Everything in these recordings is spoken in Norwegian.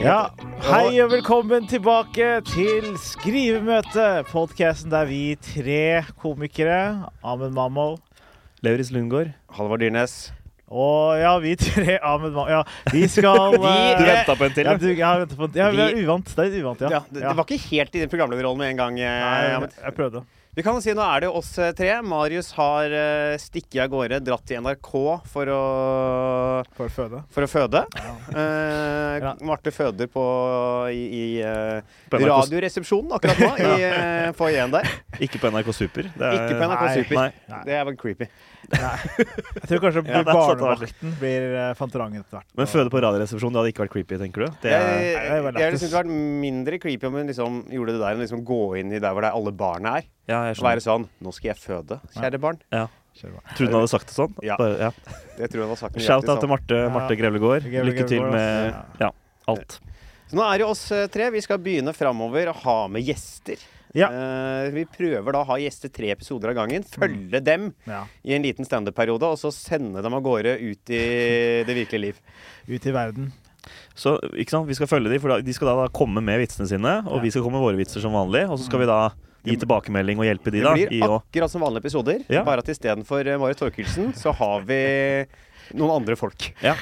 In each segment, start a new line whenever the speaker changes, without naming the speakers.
Ja, Hei og velkommen tilbake til Skrivemøte, podkasten der vi tre komikere, Ahmed Mammo Lauritz Lundgaard
Halvard Dyrnes.
og ja, vi tre Ahmed Mammo Ja, vi skal eh,
Du venta på en til?
ja, du, jeg har ventet på Ja, vi er uvant. Det er litt uvant,
ja,
ja.
det, det var ikke helt i den programlederrollen med en gang. eh,
Nei,
Ahmed.
jeg prøvde.
Vi kan jo si Nå er det jo oss eh, tre. Marius har eh, stikket av gårde, dratt til NRK for å,
For å føde.
for å føde.
Ja.
Eh,
Ja.
Marte føder på, i, i eh,
På NRK
Radioresepsjonen akkurat nå, i eh, foajeen der.
Ikke på NRK Super. Det er-
Ikke på NRK
Nei.
Super.
Nei.
Nei.
Det er vel creepy.
Jeg tror kanskje
Ja, det er sant, det var
barnevakten blir eh, Fantorangen etter hvert.
Men føde på Radioresepsjonen, det hadde ikke vært creepy, tenker du? Det
Jeg,
Nei, det
er,
er
jeg
vel
ville
lættis.
syntes det hadde vært mindre creepy om hun liksom gjorde det der enn liksom gå inn i der hvor det er alle barna er.
ja, jeg
Og være
skjønner.
sånn Nå skal jeg føde, kjære barn.
Ja.
Kjør bare.
Tror du hun hadde sagt det sånn?
Ja.
Bare, ja.
Det tror jeg hun har sagt
Shout
nøyaktig
out til
sånn. altså.
Marte, Marte
Ja.
Grevlegård.
Grevle
Lykke til
Grevlegård,
med
ass.
ja, alt.
Så nå er det oss eh, tre. Vi skal begynne framover å ha med gjester.
Ja.
Eh, vi prøver da å ha gjester tre episoder av gangen.
Mm.
Følge dem
Ja.
i en liten standup-periode, og så sende dem av gårde ut i det virkelige liv.
Ut i verden.
Så ikke sant, vi skal følge dem, for da, de skal da, da komme med vitsene sine. Og
Ja.
vi skal komme med våre vitser som vanlig. Og så skal vi da gi tilbakemelding og hjelpe de
Det
da.
blir
I å
akkurat som vanlige episoder,
Ja.
bare at istedenfor eh, Marit Thorkildsen, så har vi noen andre folk.
ja.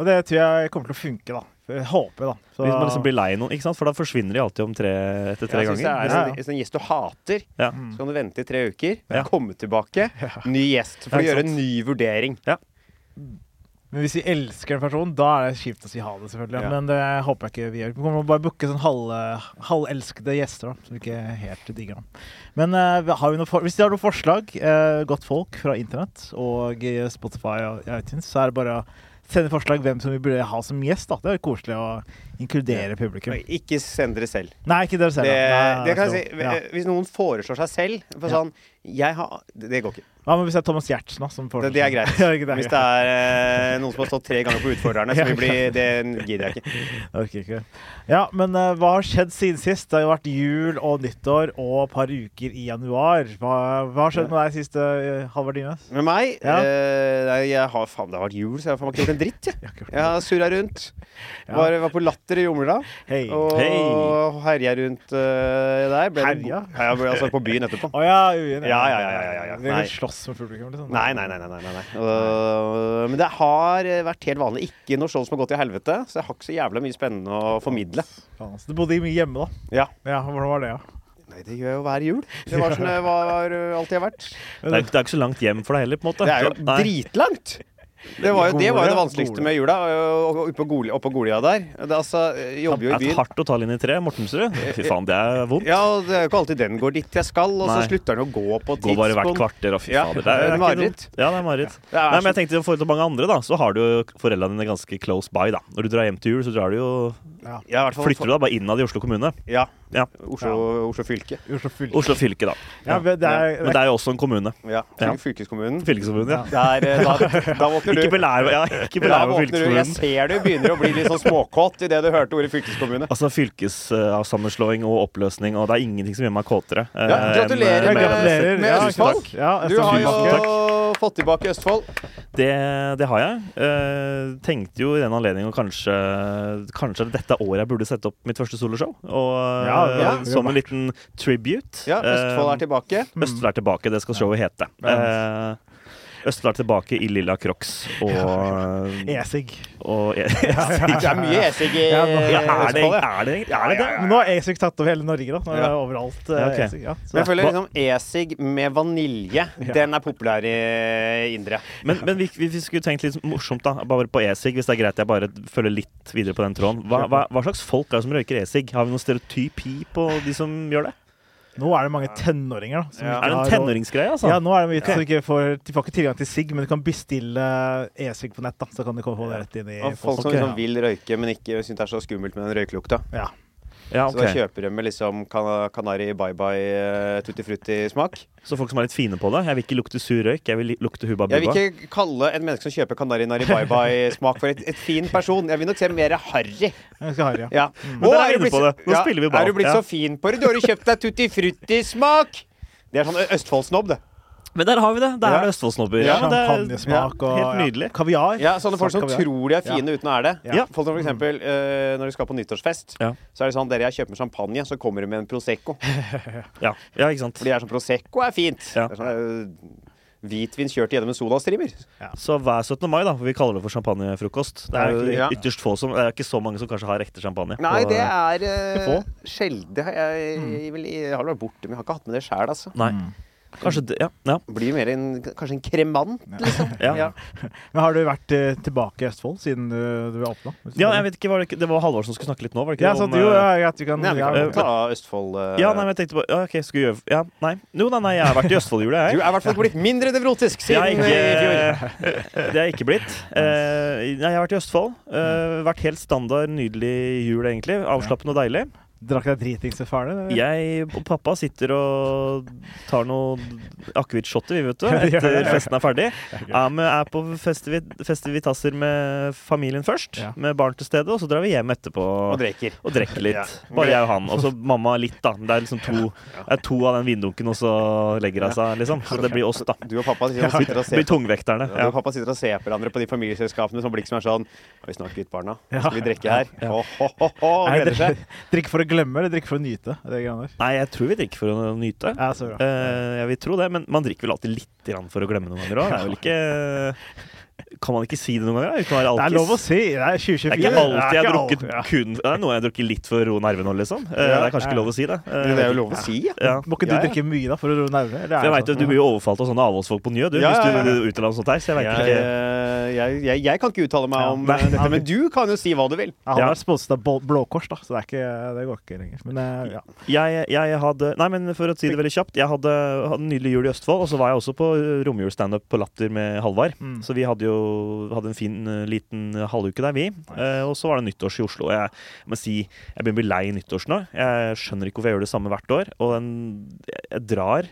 Og det tror jeg kommer til å funke, da. Jeg håper, da. Så-
Hvis man liksom blir lei noen, ikke sant? for da forsvinner de alltid om tre, etter tre
Jeg synes
ganger.
det er
Ja,
en-
ja.
Hvis en gjest du hater,
Ja.
så kan du vente i tre uker,
Ja.
komme tilbake, ny gjest, for å
Ja, ikke
gjøre
sant?
en ny vurdering.
Men hvis vi elsker en person, da er det kjipt å si ha det, selvfølgelig.
Ja.
Men det håper jeg ikke vi gjør. Vi kommer til å bare booke sånn halv, halvelskede gjester, da, som vi ikke helt digger. Da. Men eh, har vi noe for hvis de har noen forslag, eh, godt folk fra internett og i Spotify og i iTunes, så er det bare å sende forslag hvem som vi burde ha som gjest. Da. Det er jo koselig å inkludere publikum.
Ikke send dere selv.
Nei, ikke dere selv.
Det,
da. Nei,
det kan jeg
jeg
si.
tror- ja.
Hvis noen foreslår seg selv for
Ja.
sånn jeg har, Det det går ikke.
Hva men hvis det er Thomas Giertsen, da? Som
Det, det er greit.
Ja, ikke det,
Hvis det er eh, noen som har stått tre ganger på Utfordrerne, så
Ja,
vil bli, det gidder jeg ikke.
Jeg orker ikke det. Ja, men eh, hva har skjedd siden sist? Det har jo vært jul og nyttår og et par uker i januar. Hva, hva har skjedd med deg siste uh, Halvard Dines?
Med meg
Ja.
eh, nei, jeg har, Faen, det har vært jul, så jeg har faen meg ikke gjort en dritt. Jeg,
Jeg har ikke gjort
jeg har surra rundt.
Ja.
Var, var på Latter i Jomla
noe. Hei. Å
og
Hei.
herja rundt eh, der. Ble det-
Herja?
Ja, jeg ble, altså på byen etterpå.
ja, uenig.
Ja, ja, ja, ja, ja, ja.
Dere
Nei.
kan slåss med publikum, liksom?
Nei, nei, nei. nei, nei, nei. nei. Øh, men det har eh, vært helt vanlig. Ikke noe show som har gått til helvete, så jeg har ikke så jævla mye spennende å formidle.
Faen, altså. Du bodde mye hjemme, da.
Ja.
Ja, Hvordan var det, da?
Nei, det gjør jeg jo hver jul. Det var sånn det var, øh, alltid har vært.
Det er, det er ikke så langt hjem for deg heller, på en måte.
Det er jo
Nei.
dritlangt! Det var jo det, var jo det
Gole,
vanskeligste
Gole.
med jula. øh, Oppå Goli- oppå Golia der. Det, er altså, jeg jobber jo i
Det er
byen.
hardt å ta linje tre. Mortensrud. Fy faen, det er vondt.
Ja, og det er jo ikke alltid den går dit jeg skal, og så
Nei.
slutter den å gå på
Går bare hvert
tidspunkt.
kvarter, og fy
Ja,
fader.
det er
ikke
mareritt.
noe- Ja, det er mareritt.
Det er sånn.
Nei, men jeg
så-
tenkte i forhold til mange andre, da, så har du jo foreldrene dine ganske close by, da. Når du drar hjem til jul, så drar du jo
Ja, i hvert fall-
Flytter du da bare innad i Oslo kommune?
Ja.
Ja.
Oslo, Oslo fylke.
Oslo fylke.
Oslo fylke, da.
Ja, men det er,
Men det er jo også en kommune.
Ja.
Ja.
Fylkeskommunen.
Fylkeskommunen, ja.
Der, eh, da, da våkner du
Ikke belær meg ja, ikke
Da
belær meg på
våkner du, jeg
fylkeskommunen.
ser du begynner å bli litt sånn småkåt idet du hørte ordet fylkeskommune.
Altså fylkessammenslåing og oppløsning, og det er ingenting som gjør meg kåtere. eh,
Ja, gratulerer
enn, eh,
Ja,
med-
gratulerer.
med
Ja,
Østfold.
takk. Ja,
Du har
Østfold.
jo
Tusen
fått tilbake Østfold.
Det, det har jeg. Eh, tenkte jo i den anledning å kanskje Kanskje er det dette året jeg burde sette opp mitt første soloshow. Og
Ja,
eh,
ja.
som en liten tribute.
Ja, Østfold er Mm.
Eh,
tilbake.
Østfold er tilbake, det skal showet hete.
Ja.
Eh, Østfold er tilbake i lilla Crocs og,
Esig.
og eh,
Det er mye esig i
Ja, men-
Ja, er det
Østfold. ja.
er det, er det, det?
Men nå har Esig tatt over hele Norge, da. Nå er det
Ja.
overalt
Ja,
eh,
ok.
Esig. Ja,
Men
så.
jeg føler liksom esig med vanilje, den er populær i Indre.
Men, men vi, vi, vi skulle tenkt litt morsomt, da. Bare på esig, hvis det er greit jeg bare følger litt videre på den tråden. Hva, hva, hva slags folk er det som røyker esig? Har vi noen stereotypi på de som gjør det?
Nå er det mange tenåringer, da. som
Ja.
ikke
Er det
har råd-
en tenåringsgreie, altså?
Ja, nå er det mye som ikke får, de får ikke tilgang til sigg, men du kan bestille e-sigg på nett, da, så kan du komme få det rett inn i
Og folk som
Ok.
liksom vil røyke, men ikke syns det er så skummelt med den røykelukta.
Ja.
Ja,
Så da
ok.
kjøper de med liksom kan Kanari Bye Bye eh, Tutti Frutti-smak.
Så folk som er litt fine på det? Jeg vil ikke lukte sur røyk, jeg vil li- lukte Hubba
Jeg
Bubba.
vil ikke kalle en menneske som kjøper Kanari Nari Bye Bye-smak for et, et fin person. Jeg vil nok se mer harry.
Jeg skal ha det, ja.
Ja. Å,
Men Mm. dere er
du
inne
blitt
på
så-
det. Nå spiller vi ball.
Er du blitt
Ja.
så fin på det? Du har jo kjøpt deg Tutti Frutti-smak! Det er sånn Østfoldsnobb, det.
Men der har vi det! Der
Ja.
er det Østfoldsnobber.
Ja,
men det er-
Champagnesmak
ja,
og
Helt nydelig.
Ja. Kaviar.
Ja, sånne folk som
Salt kaviar.
tror de er fine uten å er det.
Ja.
Ja. Folk som for eksempel eh, når de skal på nyttårsfest,
Ja.
så er det sånn dere jeg kjøper champagne, så kommer de med en Prosecco.
Ja, ja ikke sant.
For de er sånn Prosecco er fint.
Ja.
Det er sånn, eh, hvitvin kjørt igjennom en sodastrimer.
Så hver 17. mai, da, for vi kaller det for champagnefrokost. Det er jo
Ja.
ytterst få som Det er ikke så mange som kanskje har ekte champagne.
Nei,
på-
det er uh,
Få. Mm.
sjelden. Jeg, jeg, jeg, vil- jeg har vært borte, men jeg har ikke hatt med det sjæl, altså.
Nei. Kanskje det, ja. ja.
Blir mer en, kanskje en kremant, liksom.
Ja.
Men har du vært eh, tilbake i Østfold siden du, du åpna?
Ja, jeg vet ikke, var det, ikke- det var Halvor som skulle snakke litt nå, var det ikke?
Ja,
det?
sant,
Om,
jo,
eh,
ja, greit, vi kan,
Nei, vi kan
ja,
godt ta Østfold eh,
ja, nei, men jeg tenkte på Ja, OK, skulle gjøre Ja, nei. Jo, nei, nei, jeg har vært i Østfold i jula,
Du er
jeg.
i hvert fall blitt mindre nevrotisk
Jeg er
siden eh, i fjor.
ikke, det er jeg ikke blitt. Eh, nei, jeg har vært i Østfold. Eh, vært helt standard, nydelig jul, egentlig. Avslappende og deilig.
Drakk deg dritings til faren din? eller?
Jeg og pappa sitter og tar noen akevittshotter, vi, vet du,
Ja, ja,
etter
ja.
festen er ferdig. Ja, men er på festivit festivitasser med familien først,
Ja.
med barn til stede, og så drar vi hjem etterpå.
Og drikker.
Og drikker
Ja.
litt. Bare jeg og han. Og så mamma litt, da. Det er liksom to, det er to av den vindunken, og så legger hun seg, liksom. Så det blir oss, da.
Du og pappa sitter og
Det
ser
blir tungvekterne.
Ja, du
Ja.
og pappa sitter og ser på hverandre på de familieselskapene med sånn blikk som er sånn «Ja, Vi snakker litt, barna. Skal vi drikke her? Ho, ho, ho, ho,
Nei,
gleder seg.
dri- Drikk for å glemme eller drikk for å nyte? Det er greiene der.
Nei, jeg tror vi drikker for å nyte.
Ja, så bra.
Eh, jeg vil tro det, men man drikker vel alltid litt grann for å glemme noen ganger òg. Det er vel ikke Kan man ikke si det noen ganger? da, Uten å være
Det er lov å
alkis?
si! Det er 2024.
Det er ikke alltid jeg har
alt-
drukket
Ja.
kun Det er noe jeg har drukket litt for å roe nervene nå, liksom. Eh,
Ja,
det er kanskje
ja.
ikke lov å si det. Eh,
Det er jo lov å si. Ja.
Ja.
Må ikke du
Ja, ja.
drikke mye da for å roe nervene? eller er
For
det
jeg vet, jo,
sånn?
Du blir jo overfalt av sånne avholdsfolk på Njø du,
Ja,
hvis
ja,
du
ja.
utelater noe sånt her. Så jeg vet
Jeg,
ikke.
Eh, jeg, jeg, jeg kan ikke uttale meg om
Nei,
eh, dette,
nei.
men du kan jo si hva du vil.
Ja, Han
Ja.
er sponset av Bol- Blå Kors, da, så det, er ikke, det går ikke lenger. Men eh, ja.
Jeg, jeg hadde Nei, men for å si det veldig kjapt. Jeg hadde, hadde en nydelig jul i Østfold, og så var jeg også på eh, romjulsstandup på Latter med Halvard.
Mm.
Så vi hadde jo hadde en fin eh, liten halvuke der, vi. Eh, og så var det nyttårs i Oslo. Og jeg må si jeg begynner å bli lei nyttårs nå. Jeg skjønner ikke hvorfor jeg gjør det samme hvert år. Og en, jeg, jeg drar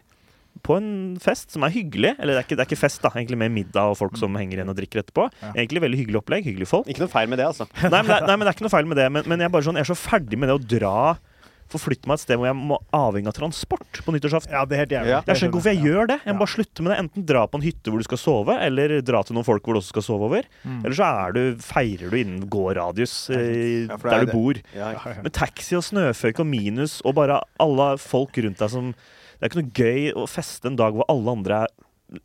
på en fest som er hyggelig. Eller det er ikke, det er ikke fest, da. Egentlig mer middag og folk som henger igjen og drikker etterpå.
Mm. Ja.
Egentlig veldig hyggelig opplegg. Hyggelige folk.
Ikke noe feil med det, altså.
Nei, men det, er- nei, men det er ikke noe feil med det. Men, men jeg, er bare sånn, jeg er så ferdig med det å dra Forflytte meg et sted hvor jeg må avhenge av transport på nyttårsaften.
ja, det er helt jævlig.
Ja.
Jeg skjønner ikke hvorfor jeg gjør det. Jeg
Ja.
må bare slutte med det. Enten dra på en hytte hvor du skal sove, eller dra til noen folk hvor du også skal sove over.
Mm.
Eller så er du, feirer du innen gåradius eh,
Ja, for det er
der
det.
du bor.
Ja.
Ja, ja.
Med taxi og snøføyk og minus og bare alle folk rundt deg som Det er ikke noe gøy å feste en dag hvor alle andre er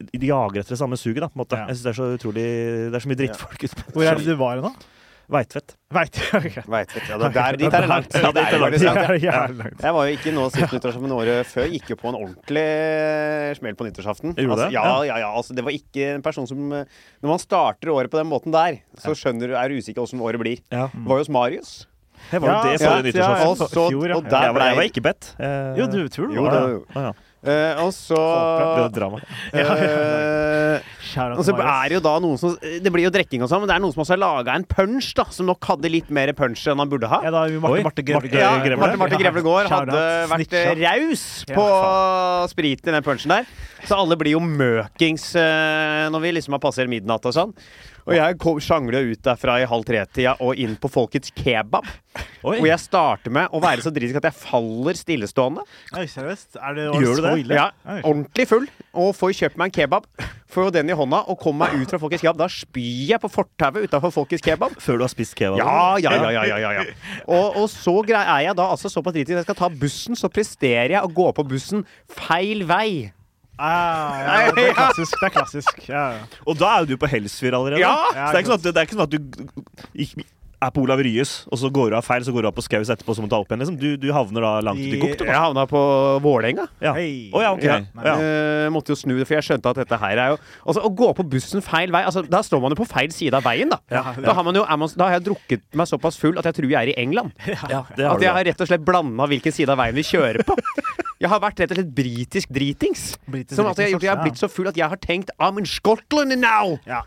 de jager etter det samme suget. da, på en måte.
Ja.
Jeg synes Det er så utrolig, det er så mye drittfolk ute
Hvor er det
på
du var nå?
Veitvet.
Veit du? Ok.
Vet, vet, ja, det der, dit er det langt.
Ja, dit er det langt.
Det
faktisk langt, ja.
er jævlig langt.
Jeg var jo ikke nå sist nyttårsaften, men året før gikk jo på en ordentlig eh, smell på nyttårsaften.
Gjorde
altså,
det?
ja,
Ja.
ja, ja, altså, det var ikke en person som eh, Når man starter året på den måten der, så skjønner du, er du usikker hvordan året blir.
Ja.
Det var jo hos Marius.
Her var det
Ja,
det
ja,
forrige nyttårsaften.
ja,
Og, så,
fjor, ja.
og der
Jeg var,
ble
jeg var ikke bedt.
Jo, du tror det
Jo,
var
det
det.
var jo
ja.
Eh, og så
Det var drama.
eh,
Kjære
Og så
Marius.
er det jo da noen som Det blir jo drikking og sånn, men det er noen som også har laga en punch, da, som nok hadde litt mer punch enn han burde ha.
Ja, da har vi Marte,
Oi,
Marte Grevle.
Marte-
Ja,
Grevle.
Marte Marte Grevlegård hadde
Shout out.
vært eh,
Snitcha.
raus på spriten i den punchen der. Så alle blir jo møkings eh, når vi liksom har passert midnatt og sånn. Og jeg kom- sjangla ut derfra i halv tre-tida og inn på Folkets kebab.
Oi.
Hvor jeg starter med å være så dritisk at jeg faller stillestående.
Oi, seriøst? Er det
Gjør
så
du det?
ille?
Ja,
Oi.
ordentlig full. Og får kjøpt meg en kebab. Får jo den i hånda og kommer meg ut fra Folkets kebab. Da spyr jeg på fortauet utafor Folkets kebab.
Før du har spist kebab?
Ja, ja, ja, ja, ja, ja, ja. Og, og så grei- er jeg da altså såpass dritig at jeg skal ta bussen, så presterer jeg å gå på bussen feil vei.
Ah, ja, det er klassisk. Det er klassisk. Ja, ja.
Og da er jo du på Helsfyr allerede.
Ja!
Så det er ikke sånn at, det er ikke sånn at du gikk- er på Olav Ryes, og så går du av feil, så går du av på Skaus etterpå, så må du ta opp igjen. liksom. Du, du havner da langt ut i
I-
kokt.
Jeg havna på Vålerenga.
Ja.
Hei.
Å ja, ok.
Ja.
Ja.
Eh, måtte jo snu, for jeg skjønte at dette her er jo Altså, Å gå på bussen feil vei altså, Da står man jo på feil side av veien, da. Da, har man jo, er man, da har jeg drukket meg såpass full at jeg tror jeg er i England.
Ja, det
At
har du
jeg
da.
har rett og slett blanda hvilken side av veien vi kjører på. Jeg har vært rett og slett britisk dritings.
Britisk
som at jeg,
dritings,
har gjort- jeg har
ja.
blitt så full at jeg har tenkt I'm in Scotland now!
ja.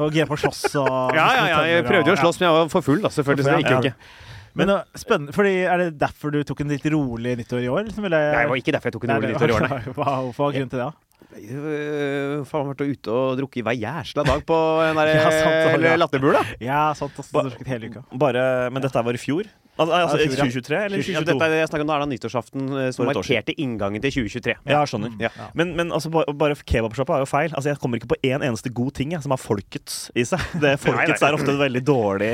Og gira på å slåss og
Ja, ja, ja, jeg prøvde jo å slåss, men jeg var for full, da, selvfølgelig. Så det gikk jo
Ja.
ikke.
Men uh, spennende, fordi Er det derfor du tok en litt rolig nyttår i år? Liksom, eller?
Nei, det var ikke derfor jeg tok en
Nei,
rolig
det-
nyttår i år, nei.
Hva hvorfor var grunnen til det? da?
Øh, Faen, vært ute og drukket hver jæsla dag på den der øh,
Ja, sant, ja.
eller latterbula. Mm.
Ja, sant. ass, Du har drukket hele uka.
Bare, men dette var i fjor. Al- Altså,
Jeg tror det.
2023 eller
Ja,
2022?
dette er det jeg snakker om, da er det nyttårsaften eh, som
For et år siden.
markerte inngangen til 2023.
Ja, jeg skjønner.
Ja.
Men, men altså, ba- bare kebabsjappa er jo feil. Altså, jeg kommer ikke på én eneste god ting jeg, som har folkets i seg. Det Folkets
nei.
er ofte en veldig dårlig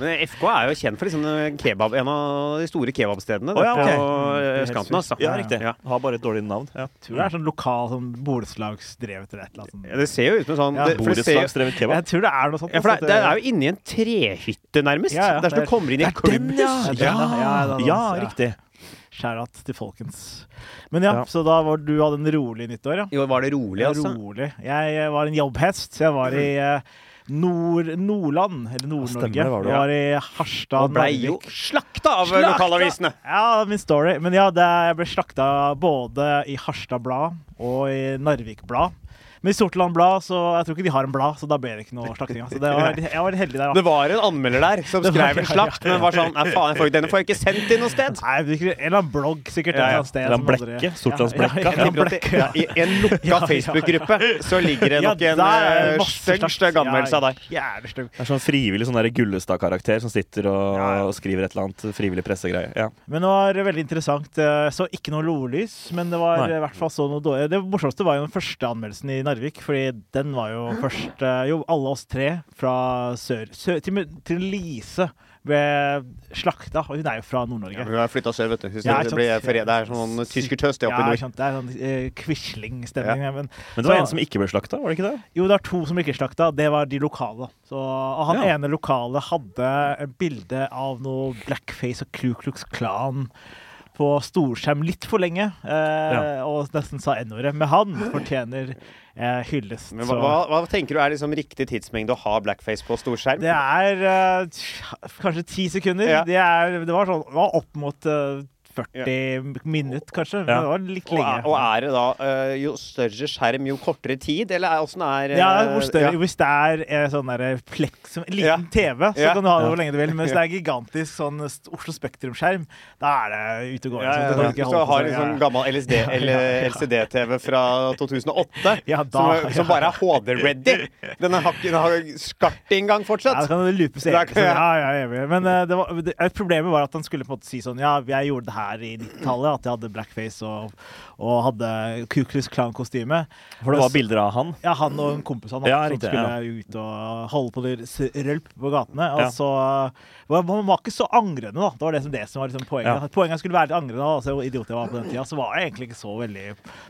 Men FK er jo kjent for liksom eh, kebab, en av de store kebabstedene
Å, ja,
det,
ok.
på eh,
Det er helt
østkanten. Altså.
Ja, riktig.
Ja.
Har bare et dårlig navn. Ja.
Jeg tror det er sånn lokal sånn borettslagsdrevet eller et eller annet.
Ja,
sånt.
Det ser jo ut som en sånn
Ja.
det, for det, ser,
Borettslagsdrevet
Jeg
kebab.
tror det er noe sånt.
ja, for
altså,
det, det er jo inni en trehytte, nærmest.
Ja, ja,
det er som
det
du
er-
kommer inn i en klubb.
Ja, det er
ja!
den, ja, det er den,
Ja,
ja.
riktig.
Shout-out til folkens. Men ja,
Ja.
så da var du hadde en rolig nyttår, ja?
I år var det rolig,
Ja,
altså. Mm.
rolig. Jeg eh, var en jobbhest. Jeg var i eh, Nord Nordland, eller Nord-Norge.
Stemmer det var du, ja.
Jeg var i Harstad,
Og blei jo
Narvik.
slakta av
Slakta!
lokalavisene!
Ja, min story. Men ja, det, jeg ble slakta både i Harstad Blad og i Narvik Blad. Men i Sortland Blad så Jeg tror ikke de har en blad, så da ble det ikke noe slakting. Så det var, jeg var heldig der,
Det
da.
var en anmelder der som
Det var-
skrev en slakt, men var sånn Nei, faen, jeg får- denne får jeg ikke sendt til noe sted!
Nei, det er ikke- en eller annen blogg, sikkert.
Ja, ja.
eller annet sted
Eller en
som aldri-
blekke. Sortlandsblekka.
Ja, ja, ja, en
Jeg tenker
blekke,
at det- I en lukka
Ja, ja, ja.
Facebook-gruppe så ligger det
Ja,
nok en
der er
eh,
masse
stygg
slakt.
stygg anmeldelse av deg.
Ja, Jævlig stygg.
Det er sånn frivillig sånn der Gullestad-karakter som sitter og,
Ja, ja.
og skriver et eller annet frivillig pressegreie. Ja.
Men det var veldig interessant. Jeg så ikke noe blodlys, men det var i
Nei.
hvert fall så noe dårlig. Det morsomste var jo den første anmeldelsen i Narvik, fordi den var jo først eh, Jo, alle oss tre fra sør, sør til, til Lise ble slakta, og hun er jo fra Nord-Norge.
Hun har flytta sør, vet du. Hun
Ja,
ser-
ikke
det blir
sant.
fred- Det er sånn tyskertøst
Ja,
det oppe
ikke
i nord.
sant, det er sånn eh, Quisling-stemning. ja, Men,
Men det var
Så-
en som ikke ble slakta, var det ikke det?
jo, det er to som ikke er slakta. Det var de lokale. Så, og han
Ja.
ene lokale hadde et bilde av noe blackface og Ku Klux Klan på storskjerm litt for lenge, eh,
Ja.
og nesten sa N-ordet. Men han fortjener eh, hyllest.
Men
så-
hva, hva, hva tenker du er liksom riktig tidsmengde å ha blackface på storskjerm?
Det er eh, tj- kanskje ti sekunder.
Ja.
Det, er, det var sånn det var opp mot eh, 40 minutt, kanskje. Men
Ja.
det var litt
og,
lenge.
er, og er det da eh, jo større skjerm, jo kortere tid? Eller er- åssen er eh,
Ja, hvor større,
ja.
Hvis det er eh, sånn der pleks, en liten
Ja.
TV, så
Ja.
kan du ha det
Ja.
hvor lenge du vil. Men hvis det er gigantisk sånn st- Oslo Spektrum-skjerm, da er det ute og går.
Ja,
liksom.
ja,
Du kan
ja.
ikke
Hvis du
holde på
har
sånn,
en
ja.
sånn gammel LSD, eller LCD-TV fra 2008
Ja,
som,
da-
er- som bare er HD-ready Den har ikke den har skartinngang
Ja, det
fortsatt.
kan lupes
Da
evig.
kan-
Sånn, ja, ja, evig. Men eh, det var, det, eh, problemet var at han skulle på en måte si sånn Ja, jeg gjorde det her i 90-tallet, at jeg hadde blackface og, og hadde Kuklus Klan-kostyme.
For det var bilder av han.
Ja, han og en kompis han da,
Ja,
som
riktig,
skulle ut og holde på det s- rølp på gatene. Og
Ja.
så var Man var ikke så angrende, da. Det var det som, det som var liksom poenget.
Ja.
Poenget skulle være litt angrende, da, altså, hvor idiot jeg var på den tida. Så var jeg egentlig ikke så veldig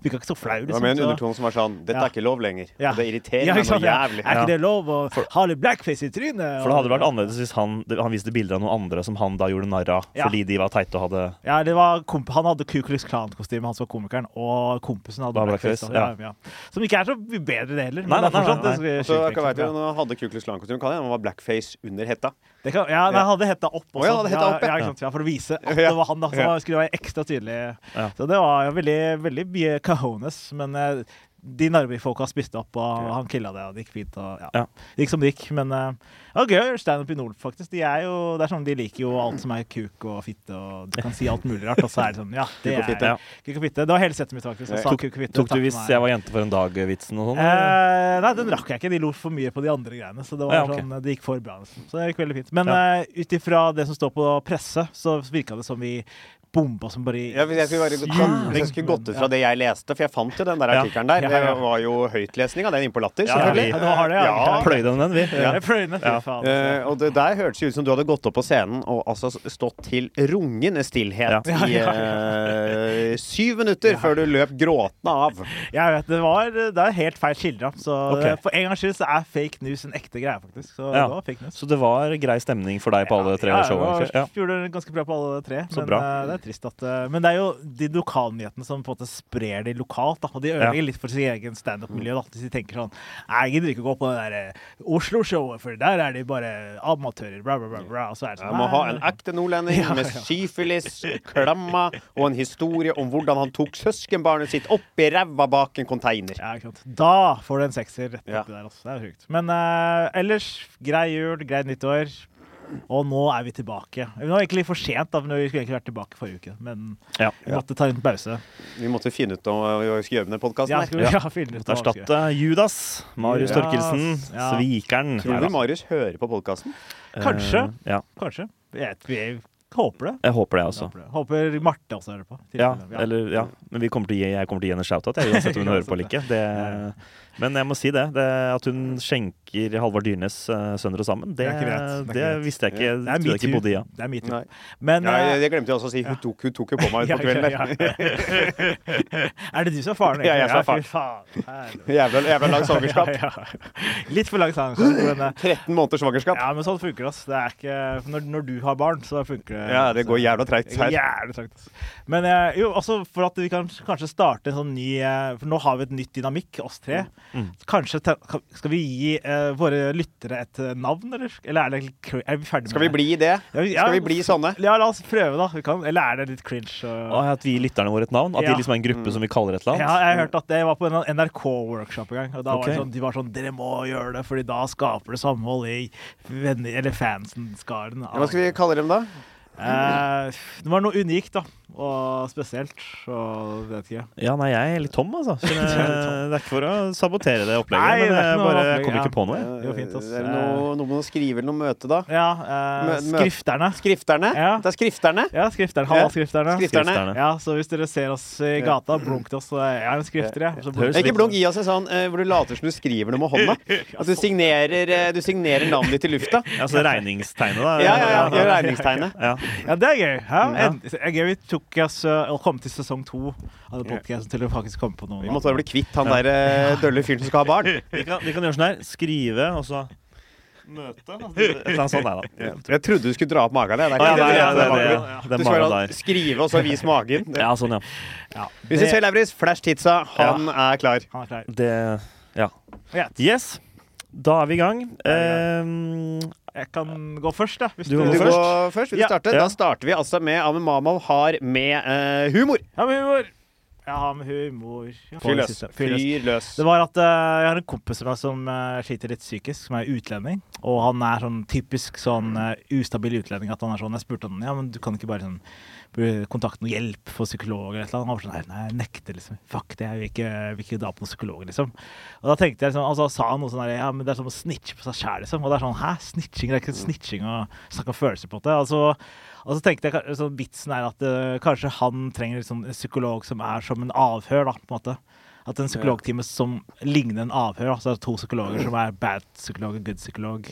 Virka ikke så flau,
Det var
liksom.
med en
så-
undertone som var sånn Dette
Ja.
er ikke lov lenger.
Ja.
Og det irriterer
ja,
meg
ikke
noe
sant, ja.
jævlig.
Er ikke det lov å ha litt blackface i trynet?
For det hadde vært annerledes hvis han, han viste bilder av noen andre som han da gjorde narr av
Ja.
fordi de var teite og hadde
Ja, det var komp han hadde Ku Klux Klan-kostyme, han som var komikeren, og kompisen hadde
Bare
blackface.
blackface,
da. ja. Ja. Som ikke er så bedre, det heller. Men
Nei,
det er
nei, nei,
fortsatt
nei,
det er
Så
sjukt
jeg Altså, vet
eksempel,
jo,
ja.
Nå hadde Kuklus Klan-kostyme, kan jeg, han var blackface under hetta.
Det kan, ja, nei, han hadde hetta opp også.
Å ja, han hadde hetta opp, ja.
ja, ikke sant, ja, For å vise at
Ja.
det var han. da, Så
Ja.
det skulle være ekstra tydelig.
Ja.
Så det var jo veldig, veldig mye cajones. Men eh, de Narvik-folka spiste opp, og
Ja.
han killa det, og det gikk fint. Og, ja.
Ja.
Det gikk som det gikk. Men eh, det var gøy å gjøre standup i nord, faktisk. De er jo, det er sånn, de liker jo alt som er kuk og fitte, og du kan si alt mulig rart. Og så er det sånn, ja, det
Kuk og fitte,
er
ja.
kuk og fitte. Det var hele settet mitt, faktisk. Jeg sa
Tok,
kuk og fitte.
tok du
takk for
'Hvis
meg.
jeg var jente for en dag'-vitsen og sånn? eller?
Eh, nei, den rakk jeg ikke. De lo for mye på de andre greiene. Så det, var
Ja, ok.
sånn, det gikk for bra. Liksom. Så det gikk veldig fint. Men
Ja.
ja. ut ifra det som står på presse, så virka det som vi bomba som bare i
Jeg, jeg, skulle bare,
juling.
jeg skulle gått ut fra det jeg leste, for jeg fant jo den der
Ja.
artikkelen der.
Ja, ja, ja.
Det var jo høytlesning av den inn på Latter,
Ja, ja,
selvfølgelig.
vi-
Ja, det var det, ja.
Ja.
Pløyde den den, vi?
Ja. Jeg pløyde ned, fy
Ja.
faen. altså.
Eh, og det der hørtes jo ut som du hadde gått opp på scenen og altså stått til rungende stillhet
Ja.
i eh, syv minutter før du løp gråtende av.
Jeg vet, det, var, det er helt feil skildra. Så eh,
Ok.
for en gangs skyld så er fake news en ekte greie, faktisk. Så
Ja.
det var fake news.
Så det var grei stemning for deg på alle tre
ja,
showene?
det
egentlig?
var-
Ja.
Gjorde det ganske bra på alle tre.
Så
Men
bra.
eh, det er trist at eh, Men det er jo de lokalnyhetene som på en måte sprer de lokalt, da. Og de ødelegger litt for sin egen standup-miljø, da. Hvis de tenker sånn Nei, jeg gidder ikke å gå på det der eh, Oslo-showet, for der er de bare amatører, bla, bra, bra, bra. Og så er det
Jeg
sånn
må
nei,
ha
nei,
en ekte nordlending med syfilis, klamma og en historie om hvordan han tok søskenbarnet sitt opp i ræva bak en container.
Ja, ikke sant. Da får du en sekser rett oppi
Ja.
der også. Det er sjukt. Men eh, ellers, grei jul, grei nyttår. Og nå er vi tilbake. Det var egentlig for sent, da, for vi skulle egentlig vært tilbake forrige uke. Men
Ja.
vi måtte ta en pause.
Vi måtte finne ut om hva vi skulle gjøre med den
Ja,
podkasten.
skal vi
Ja.
ja. finne ut
Måtte
hva vi skal gjøre.
erstatte Judas. Marius
Judas,
Torkelsen.
ja.
Svikeren.
Tror
Neida.
du Marius hører på podkasten?
Kanskje.
Eh, ja.
Kanskje. Vi vet- vi Håper det.
Jeg håper det, altså.
Håper, det. håper Marte også hører på.
Ja, eller, ja. Men vi kommer til å gi, jeg kommer til å gi henne shout-out, jeg, uansett om hun hører på eller ikke. Det, men jeg må si det, det. At hun skjenker Halvard Dyrnes eh, Sønder og Sammen, det,
Det er ikke greit, det er
det,
ikke greit.
visste jeg ikke.
Det er
Det trodde jeg ikke
metoo.
bodde i. Ja.
Det er metoo.
Nei.
Men
Ja,
eh,
jeg- jeg glemte jo også å si. Hun tok, hun tok jo på meg
ja,
utpå kvelden
ja,
der.
ja. Er det du som er faren?
Ja, jeg som er
egentlig? Ja, fy faen.
Jævla, jævla lang svangerskap.
Ja, ja. Litt for lang svangerskap. Men, eh,
13 måneders svangerskap.
ja, men sånn funker det. ass. det er ikke, når, når du har barn, så funker det.
Ja, det går jævla treigt
Det går
her.
Jævlig trakt, ass. Men eh, jo, også for at vi kan kanskje starte en sånn ny eh, For nå har vi et nytt dynamikk, oss tre.
Mm.
Så Kanskje te- kan- Skal vi gi eh, våre lyttere et eh, navn, eller? Eller er, det, litt cr- er vi ferdig
Skal vi
med
bli det?
Ja, vi- ja.
Skal vi bli sånne?
Ja, la oss prøve, da. Vi kan, eller er det litt cringe? og-
Å, At vi gir lytterne våre et navn? At
Ja. Mm.
de liksom er en gruppe som vi kaller et eller
Ja,
annet?
jeg har hørt at det var på en NRK-workshop en gang. Og da var det
Ok.
sånn, De var sånn Dere må gjøre det, Fordi da skaper det samhold i venner, eller fansen-skaren.
Hva skal vi kalle dem, da?
eh, det var noe unikt, da. Og spesielt. Og vet ikke.
Ja, nei, jeg er litt tom, altså. Så det,
litt
det er ikke for å sabotere det
Nei,
opplegget,
det er
men
ikke
jeg,
noe
bare,
opplegg,
jeg kom
ja.
ikke på noe. jeg.
det går fint, ass.
Er det noe, noe med å skrive eller noe møte, da?
Ja, eh,
Mø- mø-
Skrifterne.
Skrifterne?
Ja.
Det er skrifterne?
Ja, skrifterne.
Ja.
Halla, skrifterne.
Skrift- Skrifterne.
Skrifterne.
Ja, så hvis dere ser oss i gata, blunk til oss. så Jeg er en skrifter, jeg. Så
Høres
Nei, Ikke
litt-
blunk, gi oss en sånn eh, hvor du later som du skriver noe med hånda. At du signerer, eh, du signerer navnet ditt i lufta.
Ja, så regningstegnet, da.
Ja, ja, ja. Gjør regningstegnet.
Ja.
Ja, det er gøy. Hæ?
Ja.
En- Det er gøy vi tok oss, eh, og kom til sesong to av podkasten til å faktisk komme på noe.
Vi måtte bare bli kvitt han der eh, dølle fyren som skal ha barn.
Vi, kan, vi kan gjøre sånn her. Skrive, og så Møte? altså, Et eller annet sånt der, da.
Jeg trodde du skulle dra opp magen. jeg. Det er
Å,
ikke
ja, nei,
det,
ja,
det,
det,
er
det,
magen.
det
Du
er
skal
mara
bare
der.
skrive, og så vis magen.
Ja, sånn, ja.
Ja,
Vi ses, Lauritz. Flash tidsa. Han er klar.
Han er klar.
Det Ja.
Greit.
Yes. Da er vi i gang. Ehm,
Jeg kan gå først, da. Hvis
Du
du
må
Vil du
først.
gå først? Vil du
Ja.
starte?
Ja.
Da starter vi altså med Ahmed Mamov har med eh, humor.
Ja, med humor. Jeg har med humor. Ja.
Fyr løs.
Fyr løs.
Fyr løs.
Det var at eh, jeg har en kompis av meg som eh, sliter litt psykisk, som er utlending. Og han er sånn typisk sånn eh, ustabil utlending. At han er sånn, Jeg spurte han ja, men du kan ikke bare sånn bli- kontakte noen hjelp for psykolog eller et eller annet. Han var sånn nei, nei, jeg nekter liksom. Fuck det, jeg vil ikke, vil ikke dra på noen psykolog, liksom. Og da tenkte jeg liksom, altså sa han noe sånn der, ja, men det er som å snitche på seg sjæl, liksom. Og det er sånn hæ, snitching? Det er ikke snitching å snakke om følelser på det. Altså, og så tenkte jeg ka- sånn, vitsen er at eh, kanskje han trenger liksom, en psykolog som er som en avhør, da, på en måte. At en psykologtime som ligner en avhør. Altså det er to psykologer som er bad psykolog og good psykolog.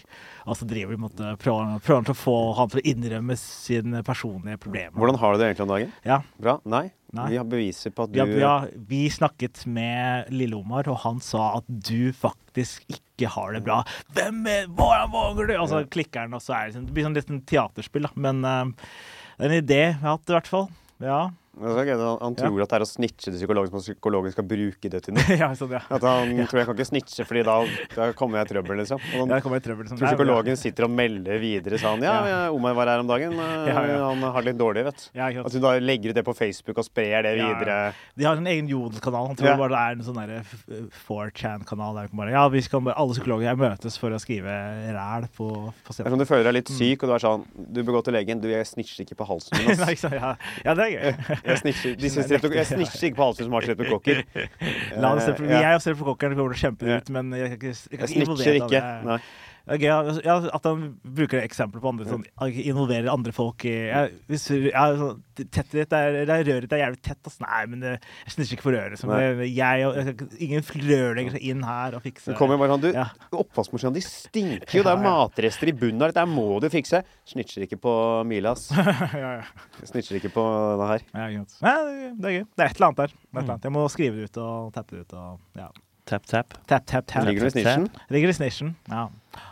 Og så driver de på en måte, prøver, prøver til å få han til å innrømme sine personlige problemer.
Hvordan har du det egentlig om dagen?
Ja.
Bra? Nei?
Nei.
Vi har beviser på at du
Ja, ja, vi snakket med Lille Omar, og han sa at du faktisk ikke har det bra. Hvem er, Hvordan våger du? Og så klikker han, og så er det, sånn, det blir sånn litt en teaterspill, da. Men eh, det er en idé jeg har hatt, i hvert fall. Ja.
Det er så gøy at Han, han
Ja.
tror at det er å snitche til psykologen som at psykologen skal bruke det til noe.
ja, sånn, ja.
At han tror jeg kan ikke snitche, fordi da, da kommer jeg i trøbbel, liksom. Og
Der
han
kommer jeg i trøbbel. Liksom.
tror psykologen sitter og melder videre sånn Ja, ja. Omar var her om dagen. eh,
Ja, ja.
Han har det litt dårlig, vet du.
Ja, ikke sant.
At hun da legger ut det på Facebook og sprer det
Ja, ja.
videre.
De har en egen Jodel-kanal. Han tror
Ja.
bare det er en sånn derre f- f- 4chan-kanal. Der vi kan bare, ja, vi skal bare, alle psykologer her møtes for å skrive ræl på
Det er
pasienten.
som du føler deg litt syk, og du er sånn Du bør gå til legen. Du, jeg snitcher ikke på halsen min,
Nei,
ass.
ikke sant? ja. ja, det er gøy.
Jeg snitcher, de syns streptok- jeg snitcher ikke på halsen som har streptokokker.
La det strepto-
Eh, ja.
Jeg og streptokokkeren kommer til å kjempe det ut, men jeg kan ikke, jeg
Jeg
kan ikke
snitcher
involvere
ikke.
alle.
Nei.
Det er gøy, ja, ja, at han bruker eksempler på andre, sånn, involverer andre folk i ja, hvis, ja, sånn, tettet ditt er, det er Røret ditt er jævlig tett. ass. Nei, men det, jeg snitcher ikke på røret. Som
Nei.
det, eh, jeg, og- jeg, kan- ingen rørlegger seg inn her og
Det
fikser
kommer bare sånn, du,
Ja.
Oppvaskmaskinen din stinker jo, det
Ja,
er
ja.
matrester i bunnen her, dette her må du fikse. Snitcher ikke på Milas.
ja, ja.
Snitcher ikke på det her.
Ja, ikke sant. Nei, det er gøy. Det er et eller annet der. Det er et eller annet. Jeg må skrive det ut og tappe det ut. Og, ja.
tap, tap.
Tapp, tapp, tapp.
Ligger du i snitchen?
Ligger i snitchen. Ja.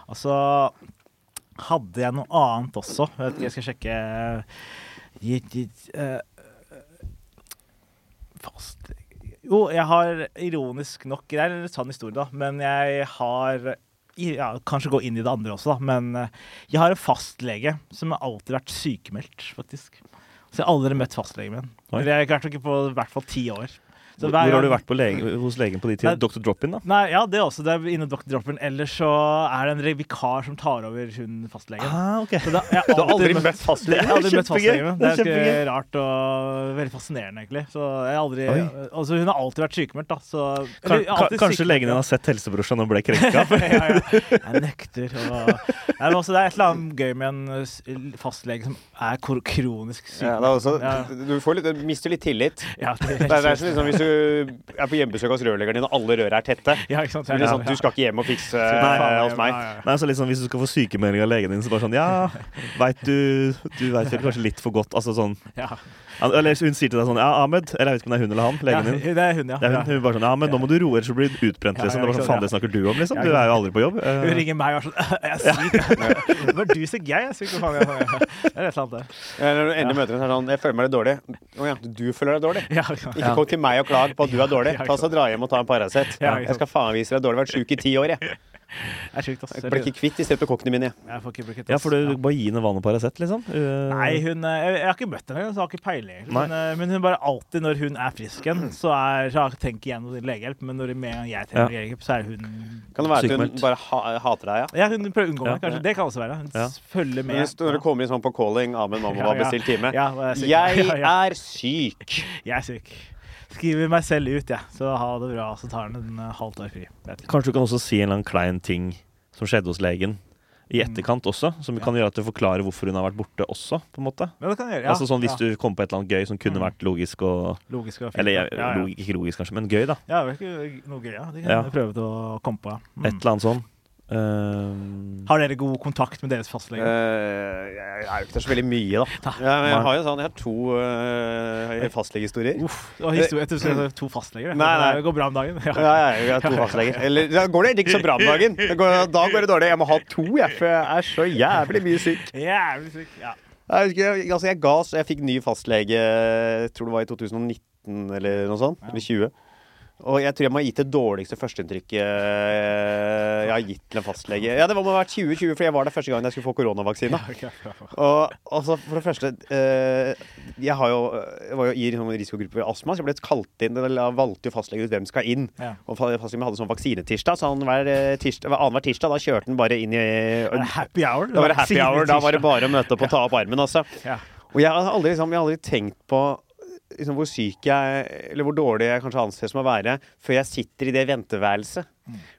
Og så hadde jeg noe annet også. Jeg vet ikke, jeg skal sjekke Gi- gi- eh, Fast Jo, jeg har ironisk nok Det er en sann historie, da, men jeg har ja, Kanskje gå inn i det andre også, da, men eh, jeg har en fastlege som har alltid vært sykemeldt, faktisk. Så jeg har aldri møtt fastlegen min.
Oi.
Eller jeg har vært ikke på i hvert fall ti år. Så
Hvor,
hver
hvor har du
gang-
vært på lege, hos legen på de
Nei.
tider? Dr. Drop-in, da?
Nei, ja, det er også. Det er inne doktortroppen. Ellers så er det en re- vikar som tar over hun fastlegen.
Ah, ok.
Så da, jeg
Du har aldri møtt
Jeg
fastlegen?
har aldri møtt
Kjempegøy.
fastlegen min. Det
Det
er
er
ganske rart og veldig fascinerende, egentlig. Så jeg har aldri,
Oi.
altså, hun har alltid vært sykemeldt, da. Så,
Kan,
eller,
ka-
alltid
kanskje
sykemeldt,
legen din
ja.
har sett helsebrorsan og ble krenka?
ja, ja. Jeg nekter. Og... Nei, men også, det er et eller annet gøy med en eh, s- fastlege som er kor- kronisk syk.
Ja, det er også, du får litt, du mister litt tillit.
Ja, det
Det er, det er sånn, liksom, hvis du er på hjemmebesøk hos rørleggeren din, og alle rør er tette
Ja, ikke sant?
så blir det sånn, Du skal ikke hjem og fikse eh, hos meg.
Nei, så liksom Hvis du skal få sykemelding av legen din, så bare sånn Ja, veit du Du veit vel kanskje litt for godt Altså sånn
Ja,
Eller hun sier til deg sånn Ja, Ahmed Eller jeg vet ikke om det er hun eller han,
ja,
legen din.
det er hun, ja.
Det er hun,
ja.
hun bare sånn Ja, men nå må du roe, ellers så blir du utbrent,
Ja,
liksom.
ja,
Det var
ikke
sånn
sant,
Faen, det snakker du om, liksom.
Ja,
Du
ikke
er jo aldri på jobb.
Hun
Eh,
ringer meg og er sånn Jeg er syk. Det var du syk, jeg er syk. Hva faen? Jeg, jeg. Det er et eller annet, det.
Eller når du ender møter en sånn Jeg føler meg litt dårlig. Å ja, du føler deg dårlig.
Ja, ikke sant.
Ikke kom til meg og klag på at du er dårlig.
Ja,
Ta så Dra hjem og ta en Paracet.
Ja, ikke sant.
Jeg skal faen vise deg dårlig. Vært sjuk i ti år, jeg.
Det er sjukt, ass.
jeg ble ikke kvitt de streptokokkene mine. jeg.
Jeg får ikke brukt
Ja, for du bare gi henne vann og Paracet, liksom. Eh,
Nei, hun, eh, jeg, jeg har ikke møtt henne, engang, så jeg har ikke peiling. egentlig.
Nei.
Men, eh, men hun bare alltid, når hun er frisk igjen, så, er, så har- tenker jeg noe legehjelp. Men når med en gang jeg trenger legehjelp, så er hun
Kan det være at
Sykemeldt.
hun bare ha hater deg, ja?
Ja, hun prøver å unngå meg,
Ja.
kanskje. Det kan også være. Hun
Ja.
følger med.
Men hvis- Når du kommer inn sånn på calling Ahmed Mamma har
Ja, ja.
bestilt time.
Ja, og jeg er syk.
Jeg
Ja, ja.
er syk.
Jeg er syk. Skriver meg selv ut, jeg. Så ha det bra. Så tar han en eh, halvt år fri. Vet ikke.
Kanskje du kan også si en eller annen klein ting som skjedde hos legen i
Mm.
etterkant også, som kan gjøre at du forklarer hvorfor hun har vært borte også, på en måte.
Men det kan jeg gjøre. Ja.
altså sånn Hvis
ja.
du kom på et eller annet gøy som kunne vært logisk og
Logisk og fint.
Eller ja,
ja, ja.
log- ikke logisk, kanskje, men gøy, da.
ja, det er ikke noe gøy. Ja. Det kan
Ja.
jeg prøve til å komme på. ja.
Et
Mm.
eller annet sånn. Eh,
Har dere god kontakt med deres fastlege?
Eh, jeg er jo ikke der så veldig mye, da. Ja, men jeg har jo sånn, jeg har to uh, fastlegehistorier.
Uff, og historie, jeg tror jeg har to fastleger. jeg.
Nei, nei.
Det går bra om dagen.
Ja, ja, jeg har to fastleger. Eller da går det egentlig ikke så bra om dagen. Det går, da går det dårlig. Jeg må ha to, jeg, for jeg er så jævlig mye syk.
Jævlig syk. Ja.
Jeg, husker, jeg, altså, jeg ga så jeg fikk ny fastlege, jeg tror det var i 2019 eller noe sånt. Eller 20. Og jeg tror jeg må ha gitt det dårligste førsteinntrykket eh, jeg har gitt til en fastlege. Ja, det må ha vært 2020, for jeg var der første gangen jeg skulle få koronavaksine.
ok, bra.
Og altså, for det første eh, Jeg, har jo, jeg var jo i sånn risikogruppe for astma, så jeg ble kalt inn Eller valgte jo fastlegen ut hvem skal inn.
Ja.
Og fa- fastlegen min hadde sånn vaksinetirsdag, så han hver eh, tirsdag, hver annenhver tirsdag da kjørte han bare inn i
Er det happy hour?
Da var det happy hour. Da var det bare å møte opp og ta opp armen, altså.
Ja.
Og jeg har aldri, liksom, jeg har aldri tenkt på liksom, hvor syk jeg Eller hvor dårlig jeg kanskje anses som å være, før jeg sitter i det venteværelset.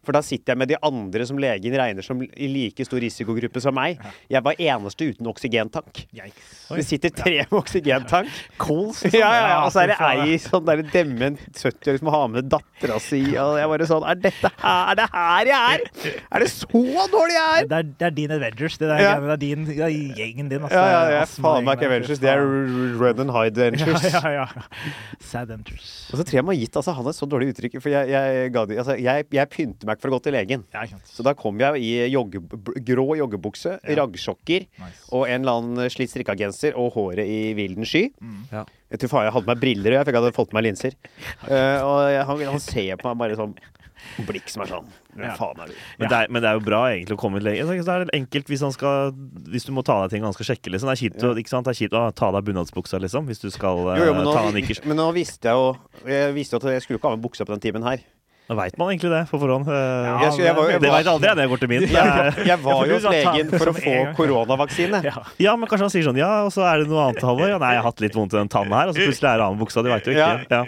For da sitter jeg med de andre som legen regner som i like stor risikogruppe som meg. Jeg var eneste uten oksygentank.
Yikes.
Det sitter tre med oksygentank.
Kols?
Ja,
liksom.
ja, ja. Og så er det
fy faen.
ei sånn der dement 70-åring som har med dattera si, og jeg bare sånn Er dette her, er det her jeg er? Er det så dårlig jeg er?
Det er, det er din Avengers. Det, der,
Ja.
greiene, det, er din, det er gjengen din. Altså.
Ja, ja, jeg er
Astma-
faen meg
gjengen
ikke
der, fy
Avengers. Det er
faen.
Red and Hide Avengers.
ja, ja, ja. Sad Avengers.
Og så tror jeg man har gitt altså, han et så dårlig uttrykk, for jeg, jeg, ga de, altså, jeg, jeg pynter meg ikke for å gå til legen.
Ja, ikke sant.
Så da kom jeg i jogge, b- grå joggebukse, raggsokker
Nice.
og en eller annen slitt strikka genser og håret i vilden sky.
Mm.
Ja.
Jeg tror faen jeg hadde på meg briller, og jeg fikk hadde fått på meg linser. Eh, og jeg, han, han ser på meg bare sånn blikk som er sånn Hvem
Ja.
faen er du?
Men, det er, men det er jo bra egentlig å komme ut lenge. Så er det enkelt hvis, han skal, hvis du må ta av deg ting han skal sjekke. Liksom. Det er kjipt, å- ikke sant? Det er kjipt å ta av deg bunadsbuksa, liksom, hvis du skal eh,
Jo, jo, men,
ta av
nå,
nikkers.
men nå visste jeg jo Jeg visste jo at jeg skulle ikke ha med buksa på den timen her.
Da veit man egentlig det på forhånd. Eh,
Ja,
Jeg, skulle, jeg, var,
men-
jeg,
det veit
var,
aldri jeg når jeg går til min.
jeg,
Eh,
jeg
Ja,
var
for
jo
du
hos
sa ta
legen
det
for
som
å
en
få
gang.
koronavaksine.
Ja.
Ja, men kanskje han sier sånn Ja, og så er det noe annet, Halvor. Ja, nei, jeg har hatt litt vondt i den tannen her. Og så plutselig er det annen buksa. Du veit jo
Ja.
ikke. Ja.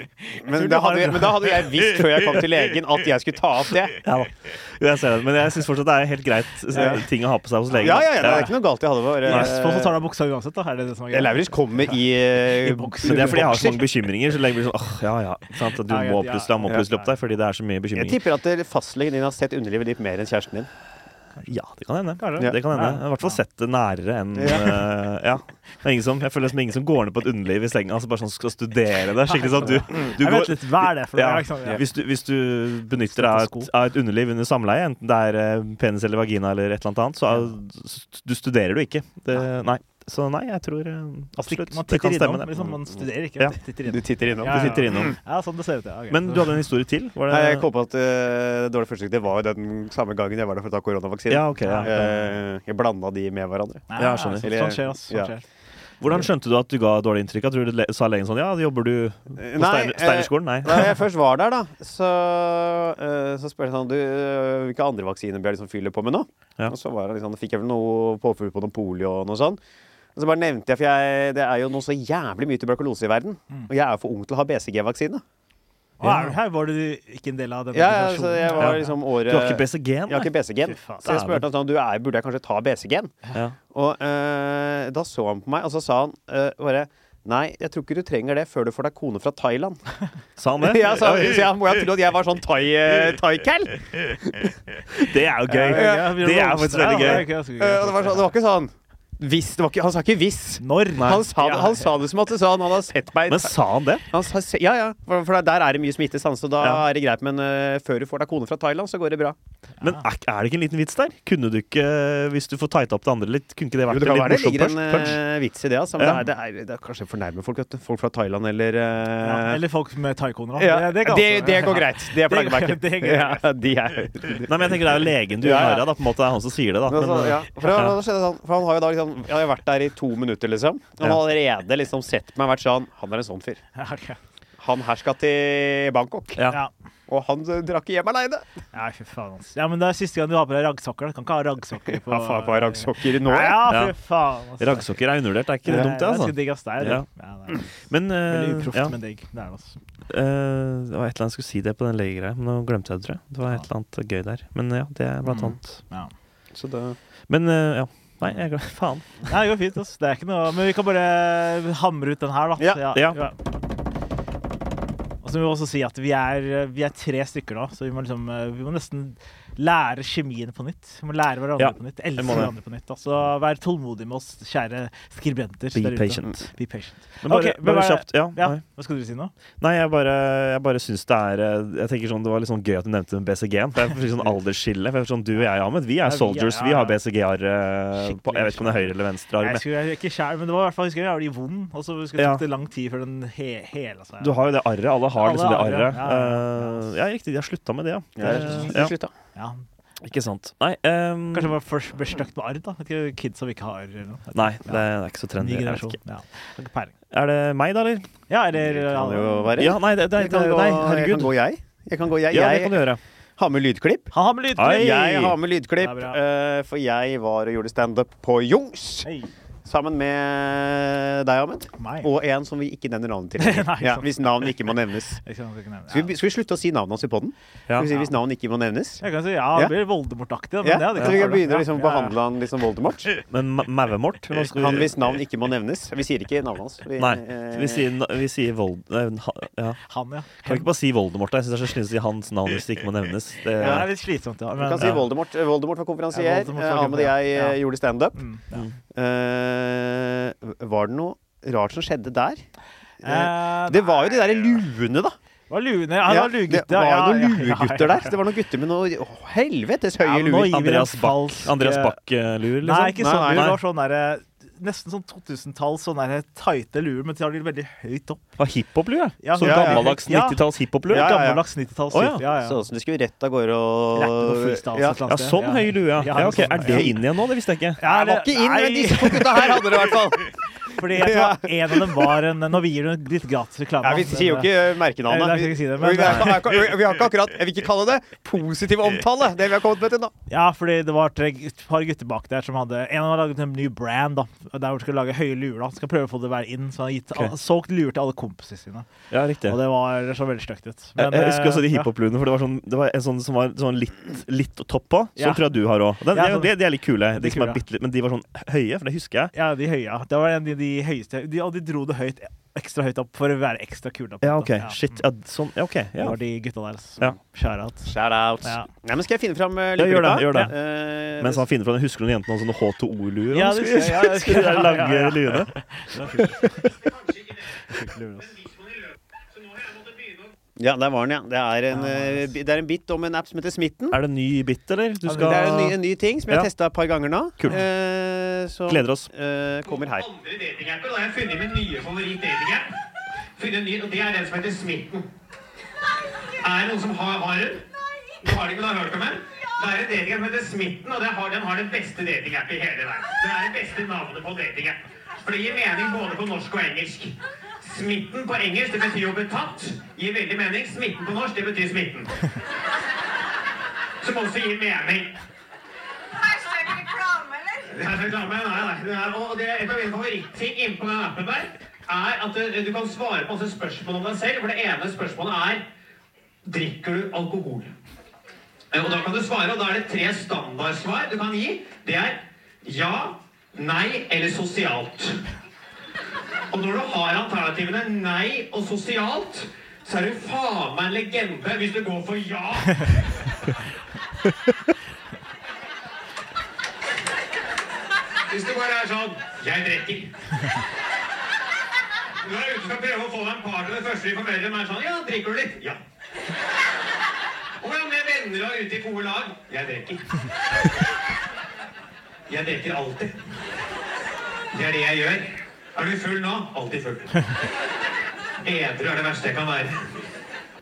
Men, da hadde, jeg- men da hadde jeg visst før jeg kom til legen at jeg skulle ta opp det.
Ja, da. Jo, jeg ser det. Men jeg syns fortsatt det er helt greit eh, ting å ha på seg hos legen.
Ja, ja, ja, det er ikke noe galt jeg hadde.
I Vestfold så tar
Bare,
du av buksa uansett, da. Er det det som er
eh,
greia?
Lauritz kommer i, eh,
I bokser.
Men det er fordi jeg har så mange
bokser.
bekymringer. Så lenge blir det sånn, åh, ja, ja, ikke sant? At Du
Ja, ja,
må
ja.
plutselig, han må
Ja.
plutselig opp deg fordi det er så mye
Jeg
bekymringer.
tipper at eh, fastlegen din har sett underlivet ditt mer enn kjæresten din.
Ja, det kan hende.
Kanskje.
Det kan hende.
Ja.
Jeg har i hvert fall sett det nærere enn
Ja.
eh, Ja. Det er ingen som, jeg føler det som ingen som går ned på et underliv i senga altså bare sånn skal studere det. Skikkelig sånn at du, du
Mm. Jeg vet
går
litt, Hva er det for noe?
ja,
Ja, ikke sant? Ja.
hvis, du, hvis du benytter deg av et, av et underliv under samleie, enten det er eh, penis eller vagina eller et eller annet annet, så er, st- du studerer du ikke. Det, nei. Så nei, jeg tror eh, absolutt
Man titter
det kan
innom.
stemme, det. Mm.
Liksom, man studerer ikke,
Ja.
man titter
Du
innom.
titter innom.
Ja,
Du sitter innom.
Ja, sånn det ser ut, ja. ok.
Men du hadde en historie til? Var det,
Nei, jeg kom på at eh, dårlig første det var jo den samme gangen jeg var der for å ta koronavaksine.
Ja, ok. Ja.
Eh, jeg blanda de med hverandre.
Nei,
Ja, jeg skjønner.
Sånn skjer, ass. Sånn
Ja.
skjer.
Hvordan skjønte du at du ga dårlig inntrykk? At du le- sa legen sånn Ja, jobber du på
Nei, eh,
Steiner- Steinerskolen? Nei.
Da jeg først var der, da, så, eh, så spurte jeg sånn du, eh, Hvilke andre vaksiner bør jeg liksom fylle på med nå?
Ja.
Og så var det liksom, da fikk jeg vel noe påfyll på noe polio og noe sånn. Og så bare nevnte jeg, for jeg, det er jo nå så jævlig mye tuberkulose i verden.
Mm.
Og jeg er jo for ung til å ha BCG-vaksine.
Og er du her? Var du ikke en del av den
Ja, ja, så jeg
generasjonen?
var
Ja.
liksom
Du
året
har ikke BCG-en?
Jeg har ikke BCG-en.
Fy faen.
Så jeg spurte han sånn, du er, burde jeg kanskje ta BCG-en?
Ja.
Og eh, da så han på meg, og så sa han eh, bare Nei, jeg tror ikke du trenger det før du får deg kone fra Thailand.
Sa han det?
Ja, så, så jeg må jo tro at jeg var sånn thai-cal. thai cal
Det er jo gøy.
Ja, vi
Det er
roaster.
faktisk veldig
Ja,
gøy.
det er ganske gøy.
Eh, og det, var sånn, det var ikke sånn hvis, det var ikke, Han sa ikke 'hvis'.
Når?
Han sa, det, han sa det som at det sa han hadde sett meg
Men sa han det?
han sa, se- Ja, ja. For, for der er det mye smitte, sant, så da
Ja.
er det greit. Men eh, før du får deg kone fra Thailand, så går det bra.
Men er, er det ikke en liten vits der? Kunne du ikke, hvis du får tighta opp det andre litt, kunne ikke det
Jo,
vært
det kan
en litt
være det
morsom
ligger
punch?
en
punch?
eh, vits i det, altså. Men
Ja.
det, er, det, er, det er kanskje fornærmer folk, vet du. Folk fra Thailand eller eh,
Ja, eller folk med taikoner, da.
ja.
kan
det,
også-
det går greit. Det er
Det går-
flaggermerket.
det går
Ja,
greit.
de er-
Nei, men jeg tenker det er jo legen du
Ja,
gjør
ja.
narr av, da. På en måte det er han som sier det, da.
Men
Men,
altså,
eh,
ja. for, da- da skjedde det sånn, for han har jo da liksom Jeg har jo vært der i to minutter, liksom. Han har allerede liksom sett meg og vært sånn Han er en sånn fyr.
Ja, ok.
Han her skal til Bangkok.
Ja.
Ja.
Og han eh, drakk hjem aleine.
Ja, fy faen. ass. Ja, men det er siste gang du har på deg raggsokker. da. Du kan ikke ha raggsokker på
Ja, faen, på raggsokker nå. Ja.
Ja,
Ja.
fy faen. ass. Eh,
eh, Raggsokker er undervurdert, er ikke det
Ja,
dumt, det?
er ganske
altså?
digg, ass. Det er,
Ja.
det. Ja, det er
Men
veldig
eh,
uproft,
ja,
men digg. Det er det, altså.
eh, det var et eller annet jeg skulle si det på den legegreia, men nå glemte jeg det, tror jeg. Det var et eller annet gøy der. Men ja, det er blant
Mm.
annet
Ja.
Så det
Men eh, ja. Nei, jeg glemte Faen.
Nei, det går fint. ass. Det er ikke noe Men vi kan bare hamre ut den her, da.
Ja,
ja.
Og så må vi også si at vi er, vi er tre stykker nå, så vi må, liksom, eh, vi må nesten lære kjemien på nytt. Vi må lære hverandre
Ja,
på nytt. Elske
må det.
hverandre på nytt. da. Så vær tålmodig med oss, kjære skribenter.
Be
der ute.
patient.
Be patient.
Men bare,
Ok, men
bare
hva er-
kjapt. Ja.
Ja,
Nei.
Hva skulle du si nå?
Nei, jeg bare, jeg bare syns det er eh, Jeg tenker sånn, Det var litt sånn gøy at du nevnte den BCG-en. For jeg fikk sånn aldersskille. For jeg fikk sånn, du og jeg, Ahmed, vi
Ja,
er
vi er-
soldiers.
ja,
Vi
ja.
har BCG-ar eh,
Skikkelig,
på Jeg vet ikke om det er høyre eller venstre
Jeg
arm.
skulle, jeg, ikke kjær, men det var i hvert fall, jeg husker jeg var jævlig vond, og så husker jeg det
Ja.
tok det lang tid før den he, altså. hela seg.
Du har jo det arret. Alle har
Alle
liksom det
har det,
arret.
ja, ja, ja.
Eh, ja, riktig. De har slutta med det, ja.
Ja,
Det-
jeg-
ja.
Slutt, da.
ja.
Ikke sant. Nei, ehm,
Kanskje det var først ble stygt med arr, da. Vet Ikke kids som ikke har arr eller noe.
nei det er ikke så
Ny
trendy. Jeg vet
generasjon.
ikke.
Ja. Har ikke peiling.
Er det meg, da, eller?
Ja,
Det
eller
kan jo være.
Ja, nei, det, det,
Jeg kan
det,
gå-
nei
Jeg kan
herregud.
gå, jeg. Jeg kan gå, jeg.
Ja, det
Jeg
kan du gjøre.
har med lydklipp.
Han har med
Hei!
lydklipp!
Jeg har med
Det
lydklipp,
er bra.
eh, for jeg var og gjorde standup på Jungs
Hei.
sammen med deg, Ahmed.
Meg.
Og en som vi ikke nevner navnet til.
Nei,
ja,
sant.
hvis navn ikke må nevnes.
Jeg kan ikke nevne-
Skal vi, skal vi slutte å si navnet hans i poden?
Ja.
Si, hvis navn ikke må nevnes?
Ja. Jeg kan si ja,
Ja.
det blir Voldemort-aktig. da, men
Ja,
ja, det
så
kan
vi kan
være det.
begynne å liksom,
Ja, ja, ja.
behandle han litt som Voldemort.
Men Ma- Mauemort? hva skal vi-
Han hvis navn ikke må nevnes. Vi sier ikke navnet hans. Vi,
Nei.
eh,
Vi sier, vi sier Vold... eh, ha- Ja.
Han, ja.
Kan vi ikke bare si Voldemort? da? Jeg syns det er så slitsomt å si hans navn hvis det ikke må nevnes. Det,
Ja, Det er litt slitsomt, ja.
Vi
Men,
kan si Voldemort. Eh, Voldemort var konferansier.
Ja,
Ja,
Voldemort var
Ahmed og jeg
konferansier, ja.
eh, gjorde standup.
Mm, ja.
Eh, var det noe rart som skjedde der? Eh,
Eh,
det var jo de
nei,
der luene, da.
Var luene, ja, det var
det
luegutter. ja,
var
ja,
noen
ja, ja,
luegutter
ja.
der. Det var noen gutter med noe å, helvetes høye
Ja, men nå
luer.
gir vi
Andreas
dem
Bach-
falsk,
Andreas
eh,
Bakke-luer, liksom?
Nei, ikke
Nei,
sånn
nei,
lue. Det
nei.
var sånn derre- Nesten sånn 2000-talls, sånn derre tighte luer, men de har de veldig høyt opp.
Ah, hiphop-lue?
Ja,
Sånn
ja, ja.
gammeldags
Ja.
90-talls hiphop-lue?
Ja, ja, ja.
Gammeldags 90-talls.
Å, ja.
typ. ja, ja.
Sånn som de skulle rett av gårde og
Lærte noe freestyle,
ja.
et eller
Ja,
annet sted.
sånn høy lue, ja.
Ja,
ja ok,
sånn,
Er det
ja.
inn igjen nå? Det visste jeg ikke.
Ja,
Jeg var ikke inn, men disse to gutta her hadde det i hvert fall.
Fordi jeg tror en av dem var en Nå gir du litt gratis reklame.
Ja, vi
altså,
sier jo
men-
ikke eh,
Nei,
merkenavnet.
jeg skal
Vi,
ikke si det, men-
vi, har ikke- vi har ikke akkurat Jeg vil ikke kalle det positiv omtale, det vi har kommet med til nå.
Ja, fordi det var tre- et par gutter bak der som hadde En av dem har laget en ny brand, da. Der hvor de skal lage høye luer. da Skal prøve å få det være inn. Så han har gitt,
Ok.
al- solgt luer til alle kompisene sine.
Ja, riktig.
Og det var det så veldig stygt ut.
Jeg, jeg husker også de
eh, ja.
hiphop-luene, for det var, sånn, det var en sånn som var sånn litt, litt topp på.
Ja.
Sånn tror jeg du har òg.
Ja,
De,
sånn-
de, de er litt kule, de,
De
som
kule.
er bitte litt Men de var sånn høye, for det husker jeg.
Ja, de høye. ja. Det var en av de, de høyeste de, Og de dro det høyt, ekstra høyt opp for å være ekstra kule. på en
Ja,
måte.
ok, shit, ja, sånn, ja, ok
Det
ja.
var de gutta der. altså, som-
Ja.
Shout out.
Shout out.
Ja.
Nei, men skal jeg finne fram uh,
Ja, gjør det, gjør det.
Eh,
Mens han finner fra den husker du noen jenter med sånne H2O-lue?
Ja, det
skulle,
husker jeg, ja, det
skulle
husker jeg.
de lange
Ja, ja, ja.
luene?
altså.
Ja, der var den, ja. Det er en, eh, bi- det er en bit om en app som heter Smitten.
Er det en ny bit, eller?
Det er en
Du
ny,
skal
en ny ting som jeg
Ja.
har testa et par ganger nå.
Kult.
Eh, som,
Gleder oss.
eh, kommer her.
Andre datingapper, da har jeg funnet min nye favoritt-datingapp. Funnet en ny, og Det er den som heter Smitten. Er det noen som har, har den? Du har den ikke, men har hørt om den? Det er en datingapp som heter Smitten, og den har, den har den beste datingappen i hele verden. Det er det beste navnet på datingapp. For det gir mening både på norsk og engelsk. Smitten på engelsk det betyr jo betatt. Gir veldig mening. Smitten på norsk det betyr smitten. Som også gir mening.
Hashtag reklame, ne? eller?
Det er reklame, nei, nei. Det er, og det er et av mine favorittting inne på Apeberg er at eh, du kan svare på masse spørsmål om deg selv. For det ene spørsmålet er drikker du alkohol. Eh, Og da kan du svare, og da er det tre standardsvar du kan gi. Det er ja, nei eller sosialt. Og når du har alternativene nei og sosialt, så er du faen meg en legende hvis du går for ja. Hvis du bare er sånn 'Jeg drikker'. Når jeg er ute og skal prøve å få deg en partner, det første de formeller meg, er sånn 'Ja, drikker du litt?' Ja. Og ja, med venner og ute i gode lag 'Jeg drikker'. Jeg drikker alltid. Det er det jeg gjør. Er du full nå? Alltid full. Edru er det verste jeg kan være.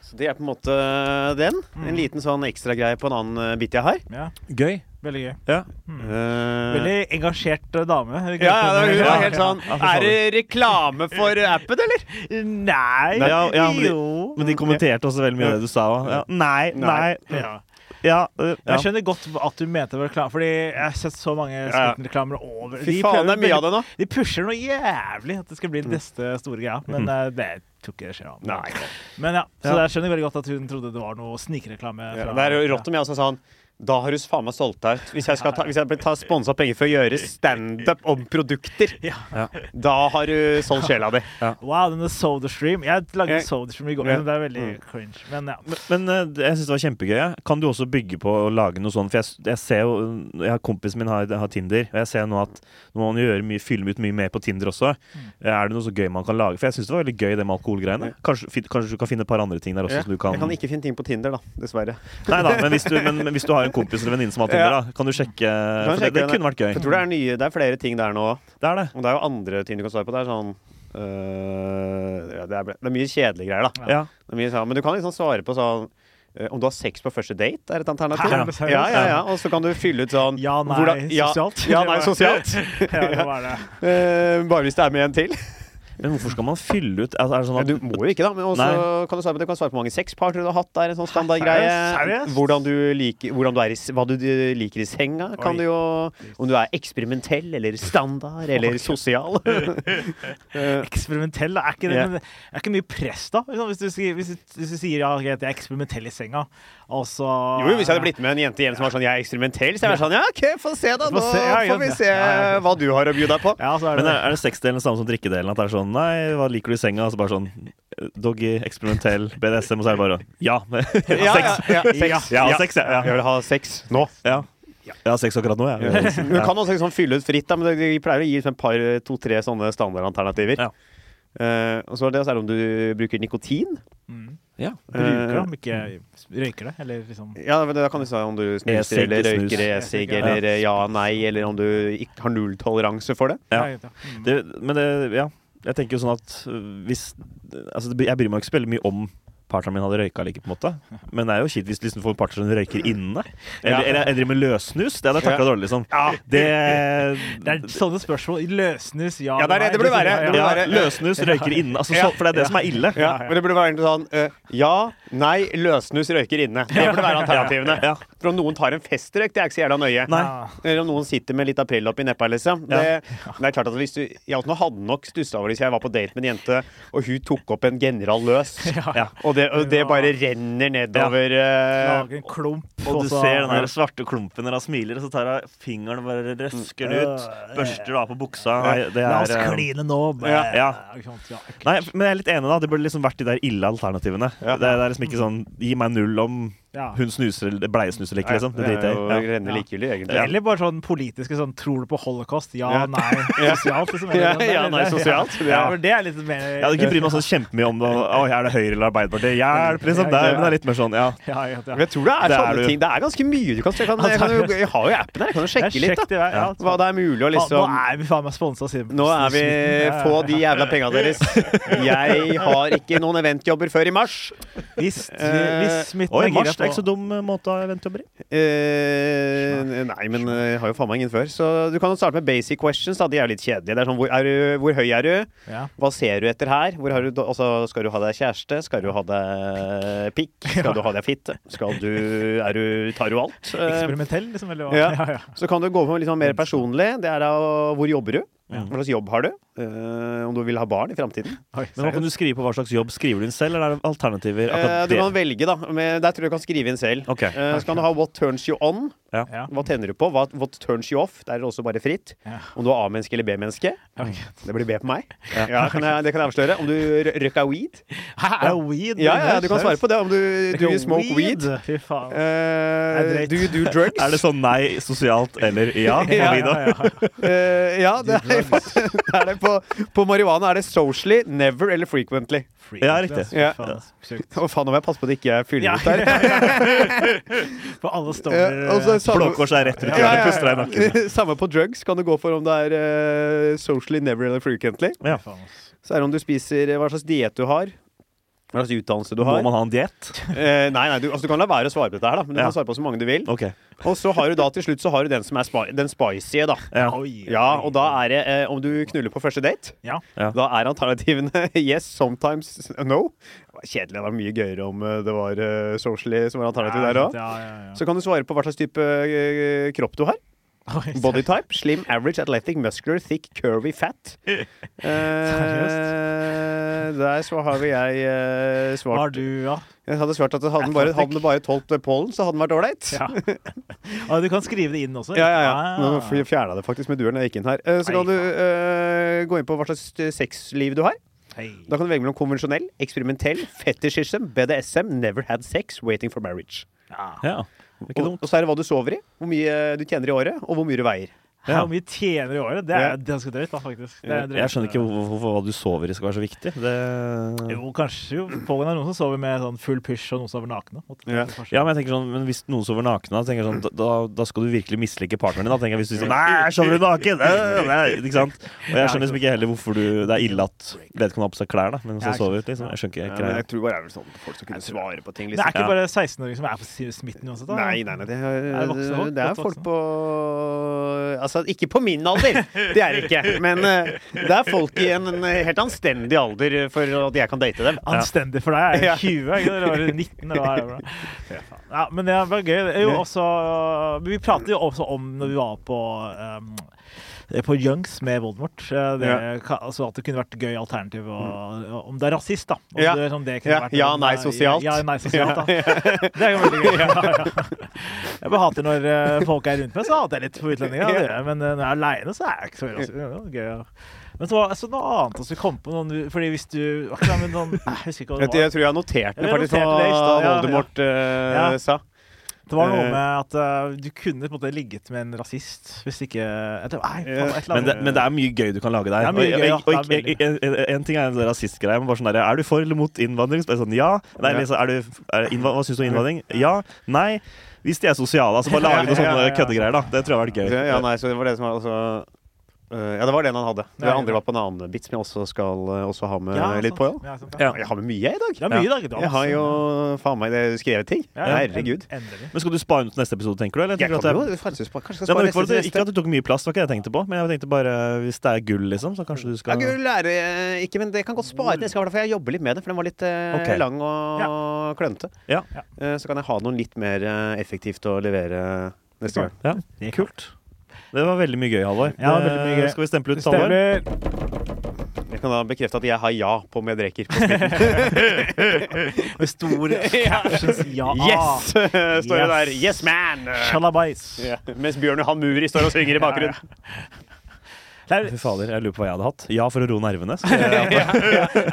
Så det er på en måte eh, den. En liten sånn ekstragreie på en annen eh, bit jeg har.
Ja,
Gøy.
veldig gøy.
Ja.
Eh,
Veldig engasjert eh, dame.
ja, ja, det var- hun var helt
Ja,
sånn
ja, for
Er det reklame for appen, eller?
Nei,
Nei, ja, ja, men de-
jo
Men de kommenterte også veldig mye av det du sa òg. Ja. Nei, nei.
Nei.
ja.
Ja, øh, ja.
Jeg skjønner godt at du mente det var reklame, Fordi jeg har sett så mange
ja.
Spitten-reklamer over
Fy faen, det er mye av det nå.
De pusher noe jævlig at det skal bli den neste store greia, men eh, det tror ikke det skjer. av meg.
Mm. Nei.
Men ja, så
Ja.
jeg skjønner veldig godt at hun trodde det var noe snikreklame.
Ja,
fra-
det er jo rått om jeg også sa han da har du faen meg solgt deg ut. Hvis jeg, skal ta, hvis jeg blir ta sponsa penger for å gjøre standup om produkter,
Ja.
da har du solgt sjela di.
Wow, denne SodaStream. Jeg lagde
Ja.
SodaStream i går.
Ja. Mm.
men Det er veldig cringe. Men ja.
Men eh, det- jeg syns det var kjempegøy. jeg. Kan du også bygge på å lage noe sånt? For jeg, s- jeg ser jo mm, jeg har Kompisen min har, har Tinder, og jeg ser nå at nå må man gjøre mye, fylle ut mye mer på Tinder også.
Mm.
Eh, Er det noe så gøy man kan lage? For jeg syns det var veldig gøy, det med alkoholgreiene. Kanskje, fin- kanskje du kan finne et par andre ting der også? som du kan,
Jeg kan ikke finne ting på Tinder, da. Dessverre.
Nei da, men hvis du, men, men hvis du har en kompis eller venninne som har Tinder,
Ja.
da, kan du sjekke
Du kan
For det,
sjekke
det
den.
kunne vært gøy.
Jeg tror det er, nye, det er flere ting der nå.
Det er det.
Og det er jo andre ting du kan svare på. Det er sånn øh, ja, det, er, ble- det er mye kjedelige greier, da.
Ja.
Det er mye, sånn- men du kan liksom svare på sånn øh, om du har sex på første date, er et alternativ.
Hæ? Er det seriøst?
Ja, ja, ja. Og så kan du fylle ut sånn
Ja, nei,
hvordan- ja,
sosialt.
Ja, nei, sosialt.
ja, det var det.
Eh, bare hvis det er med en til.
Men hvorfor skal man fylle ut altså, Er det sånn
Ja,
at
du må jo ikke, da. Men også
Nei.
kan du, svare på, du kan svare på hvor mange sexpartnere du har hatt. Det er en sånn standardgreie.
Seriøst?
Hvordan du liker hvordan du er i, s- Hva du eh, liker i senga, kan
Oi.
du jo Om du er eksperimentell eller standard eller sosial. Eh,
Eksperimentell, da. er ikke det
Ja.
men det er ikke mye press, da? Ikke sant? Hvis du, sier- hvis, du, hvis du sier ja, greit, jeg er eksperimentell i senga, og så
Jo, hvis jeg hadde blitt med en jente hjem som var sånn 'jeg er eksperimentell', så jeg var sånn 'ja, OK, få se, da.
Få
Nå
se, ja, ja,
får vi
ja.
se eh,
Ja, ja.
hva du har å by deg på'.
ja, så er det,
Men er, er det sexdelen samme som drikkedelen? At det er sånn Nei, hva liker du i senga? Og så bare sånn eh, Doggy, eksperimentell, BDSM, og så er det bare Ja.
Ja,
sex.
ja, ja, sex.
Ja, sex, ja, ja.
Jeg vil ha sex nå.
Ja. Jeg har sex akkurat nå, jeg.
Du kan også liksom fylle ut fritt, da, men de pleier å gi liksom et par, to-tre sånne standardalternativer.
Ja.
Eh, og så er det så er det om du bruker nikotin.
Ja.
Bruker dem, ikke røyker det? Eller liksom
Ja, men Da kan du si om du snuser
E-sigg,
eller
snus.
røyker e-sigg,
Ja.
eller eh, ja, nei, eller om du ikke har nulltoleranse for det.
Ja.
Nei, mm.
Det, men det Ja. Jeg tenker jo sånn at øh, hvis Altså, det, jeg bryr meg ikke så veldig mye om partneren min hadde røyka eller ikke, på en måte. Men det er jo kjipt hvis du liksom får en partner som røyker inne. Eller,
Ja.
eller jeg driver med løssnus. Det hadde jeg takla dårlig, liksom.
Det er sånne spørsmål. I Løsnes, ja
Ja, det er det det burde være. Det burde
ja,
være-
løssnus røyker inne. Altså, så, for det er det som er ille.
Ja, Men det burde være egentlig sånn eh, ja, nei, løssnus røyker inne. Det burde være alternativene.
Ja.
For om noen tar en festrøyk, det er ikke så jævla nøye.
Nei.
Eller om noen sitter med litt april oppi neppa, liksom. Det, det er klart at hvis du Jeg også hadde nok stussa over det hvis jeg var på date med en jente, og hun tok opp en general løs,
Ja.
og det, og det bare renner nedover eh,
Lager en klump.
Og du
så-
ser den der svarte klumpen når han smiler, og så tar han fingeren og bare røsker den ut. Børster det av på buksa. Nei, det
Øh, La oss
er, eh,
kline nå.
Ja, ja.
Ikke sant? Ja, ikke-
Nei, men jeg er litt enig, da. Det burde liksom vært de der ille alternativene.
Ja.
Det, det er liksom ikke sånn Gi meg null om
Ja.
hun snuser eller bleiesnuser eller ikke, liksom.
Det
Det
er jo
driter jeg i.
renner likegyldig, egentlig.
Eller bare sånn politiske sånn Tror du på holocaust? Ja,
Ja.
nei. Sosialt, liksom.
Ja,
Eller-
ja, nei,
eller-
sosialt. Det er-
for Det er litt mer
Jeg hadde ikke brydd meg sånn kjempemye om det. Oi, er det Høyre eller Arbeiderpartiet? Hjelp, liksom. Det, er- men det er litt mer sånn, ja.
Ja, ja, ja.
Men jeg tror det er
Det er
sånne
du.
ting. Det er ganske mye du kan se. Jeg, kan, jeg, kan jo, jeg har jo appen her, jeg kan jo
Det er
sjekke litt
kjekt i
da.
vei, ja.
hva det er mulig å
Faen,
liksom
Nå er vi faen meg sponsa, Simen.
Nå er vi Få de jævla penga deres. Jeg har ikke noen eventjobber før i mars.
Hvis,
Eh,
hvis smitten
oi,
er gira
mars,
på
Det er ikke så dum eh, måte å vente å bli.
Eh, nei, men eh, jeg har jo faen meg ingen før. Så du kan jo starte med basic questions. da, De er jo litt kjedelige. Det er sånn, hvor, er du, hvor høy er du?
Ja.
Hva ser du etter her? Hvor har du, altså, skal du ha deg kjæreste? Skal du ha deg pikk? Skal du ha deg fitte? Skal du, er du, tar du alt? Eh,
Eksperimentell, liksom? Eller, hva?
Ja.
Ja, ja.
Så kan du gå på litt sånn mer personlig. Det er da hvor jobber du? Hva slags jobb har du? Eh, om du vil ha barn i framtiden?
Oi,
Men hva kan du skrive på hva slags jobb? Skriver du inn selv, eller er det alternativer?
Eh,
Akkurat
du
det.
kan velge, da. Men der tror jeg du kan skrive inn selv.
Ok.
Eh, så kan du ha what turns you on.
Ja.
Ja.
Hva tenner du på? Hva, what turns you off? Der er det også bare fritt.
Ja.
Om du er A-menneske eller B-menneske. Mm.
Ok.
Det blir B på meg. Ja. kan jeg, det kan jeg avsløre. Om du rø- røyka weed.
Hæ, er det weed?
Ja, ja, du kan svare på det. Om du, do you smoke weed?
Fy faen.
Eh,
Det er drøyt.
do you do drugs?
Er det sånn nei sosialt eller ja?
Ja,
Vidar?
Eh, ja, det er, det er det på, på marihuana er det socially, never eller frequently.
Ja, riktig.
Ja.
Sjukt.
Å faen, nå må jeg passe på at jeg ikke fyller
Ja,
ut her.
For alle står
Eh, og så
Blå
samme,
Kors er rett rundt
Ja,
hjørnet.
ja,
Puster deg i nakken.
ja. samme på drugs kan du gå for om det er eh, socially, never eller frequently.
eh,
Ja.
Så er det om du spiser eh, hva slags diett du har. Hva slags utdannelse du
Må
har.
man ha en diett?
Eh, nei, nei, du, altså, du kan la være å svare på dette her, da. Men du
Ja.
kan svare på så mange du vil.
Ok.
Og så har du da til slutt så har du den som er spi den spicy, da.
Ja.
Ja, og da er det eh, om du knuller på første date.
Ja.
Ja.
Da er alternativene yes, sometimes no. Det var kjedelig. Det var mye gøyere om eh, det var eh, socially som var alternativet der òg.
Ja, ja, ja.
Så kan du svare på hva slags type eh, kropp du har.
Oi, så-
Body type, slim, average, athletic, muscular, thick, curvy, fat. Eh, der så har vi jeg eh,
Var
svart
du, ja.
Jeg hadde svart at hadde den bare, hadde den bare tålt eh, pollen, så hadde den vært ålreit.
ja. Og Ah, du kan skrive det inn også.
Ja, ja, ja.
Ah,
Nå fj- fjerna jeg det faktisk med duren da jeg gikk inn her. Eh, Så kan
Nei,
du eh, gå inn på hva slags eh, sexliv du har.
hei.
Da kan du velge mellom konvensjonell, eksperimentell, fetishism, BDSM, never had sex, waiting for marriage.
Ja.
ja. Det er Ikke
Og,
dumt.
og så er det hva du sover i, hvor mye eh, du tjener i året, og hvor mye du veier.
Ja.
Hvor mye tjener i året? Det
Ja.
er ganske drøyt, da, faktisk. Det er drøyt.
Jeg skjønner ikke hvor- hvorfor hva du sover i skal være så viktig. Det...
Jo, kanskje jo. Pågående er noen som sover med sånn full pysj, og noen som sover nakne.
Ja.
Ja, men jeg tenker sånn, men Hvis noen sover naken, da, tenker jeg sånn, da- da, da skal du virkelig mislike partneren din. Da tenker jeg hvis du sier sånn, nei, jeg sover du naken? Øh, nei, ikke sant? Og jeg skjønner liksom ikke heller hvorfor du, det er ille at vedkommende har på seg klær da, mens
Ja, ikke
han sover. liksom. Jeg skjønner
Ja,
ikke
men
greia.
jeg tror bare det er vel sånn folk som kunne svare på ting.
Det er
Liksom.
ikke bare 16-åringer som er på smitten uansett? da.
Nei, nei, nei. Det er,
Er det voksne folk?
det er
Godt
folk
voksne?
på Altså, ikke på min alder! Det er det ikke. Men eh, det er folk i en, en helt anstendig alder for at jeg kan date dem.
Anstendig for deg er
Ja.
jo 20, ikke? sant? eller var det 19? Eller hva er det? for noe? Ja, men det var gøy. Det er Jo, også, vi pratet jo også om når vi var på um, på Jungs med Voldemort. eh, Det,
Ja. Mm.
ka- altså at det kunne vært gøy alternativ å, om det er rasist, da. Om
Ja.
det, om det
Ja, ja,
om
nei,
det er-
sosialt.
Ja, nei, sosialt da. Det er jo veldig gøy. Ja, ja. Jeg bare hater når eh, folk er rundt meg, så hater jeg litt på utlendinger. Ja. det gjør jeg. Men eh, når jeg er aleine, så er jeg ikke så rasist. Det var gøy. ja. Men så var det noe annet også vi kom på noen Fordi hvis du hva kan jeg- men noen, sånn- Jeg husker ikke hva
Vet
det
du,
var.
jeg tror jeg har notert den,
Jeg
faktisk,
noterte det i
hva
stad, ja,
Voldemort eh,
Ja.
sa.
Det var noe med at eh, du kunne på en måte ligget med en rasist hvis ikke jeg tror- Nei, faen, et eller
Men det,
annet.
men det er mye gøy du kan lage der.
Det er mye
Og-
gøy, ja.
og- og-
Det er veldig
en- en- En ting er en rasistgreie, men bare sånn der, er du for eller mot innvandring? Så er det sånn, ja. Nei,
Ja.
liksom, er du, er, innva- hva syns du om innvandring? Ja. Nei. Hvis de er sosiale. altså Bare lage noen
Ja, ja,
sånne
ja.
køddegreier. da. Det tror jeg har vært gøy.
Ja, nei, så det var det som var altså eh, ja, det var den han hadde. Det
Ja, ja.
andre var på en annen bit som jeg også skal eh, også ha med
Ja,
litt
sant.
på. Ja.
Ja, sant,
Ja.
ja.
Jeg har med mye jeg, i dag.
Det er mye, da.
Jeg har jo faen meg det- skrevet ting. Herregud.
altså. Endelig.
Men Skal du spare ut neste episode, tenker du? Eller
Jeg
tenker
kan
du at det er-
jo faktisk spare- kanskje jeg skal
Ja,
spare
men ikke,
resten
for at
til
det, ikke
neste.
at du tok mye plass, det var ikke det jeg tenkte på. Men jeg tenkte bare hvis det er gull, liksom, så kanskje du
Ja,
skal
gull er det eh, ikke, men det kan godt spare til neste gang, for jeg jobber litt med det. For den var litt eh,
Ok.
lang og klønete.
Ja.
Ja.
Eh, så kan jeg ha noe litt mer eh, effektivt å levere neste gang.
Ja, kult. Det var veldig mye gøy, Halvor.
Ja,
Det-
veldig mye gøy.
Skal vi stemple ut Halvor?
Stemmer.
Jeg kan da bekrefte at jeg har ja på om jeg drikker. på spillet.
Med stor captions. Ja.
Yes! Står det der.
Yes.
Yes, man!
Shalabais.
Ja. Mens Bjørn Johan Muri står og synger i bakgrunnen.
Det er
Fy fader, jeg lurer på hva jeg hadde hatt. Ja, for å roe nervene. Så,
jeg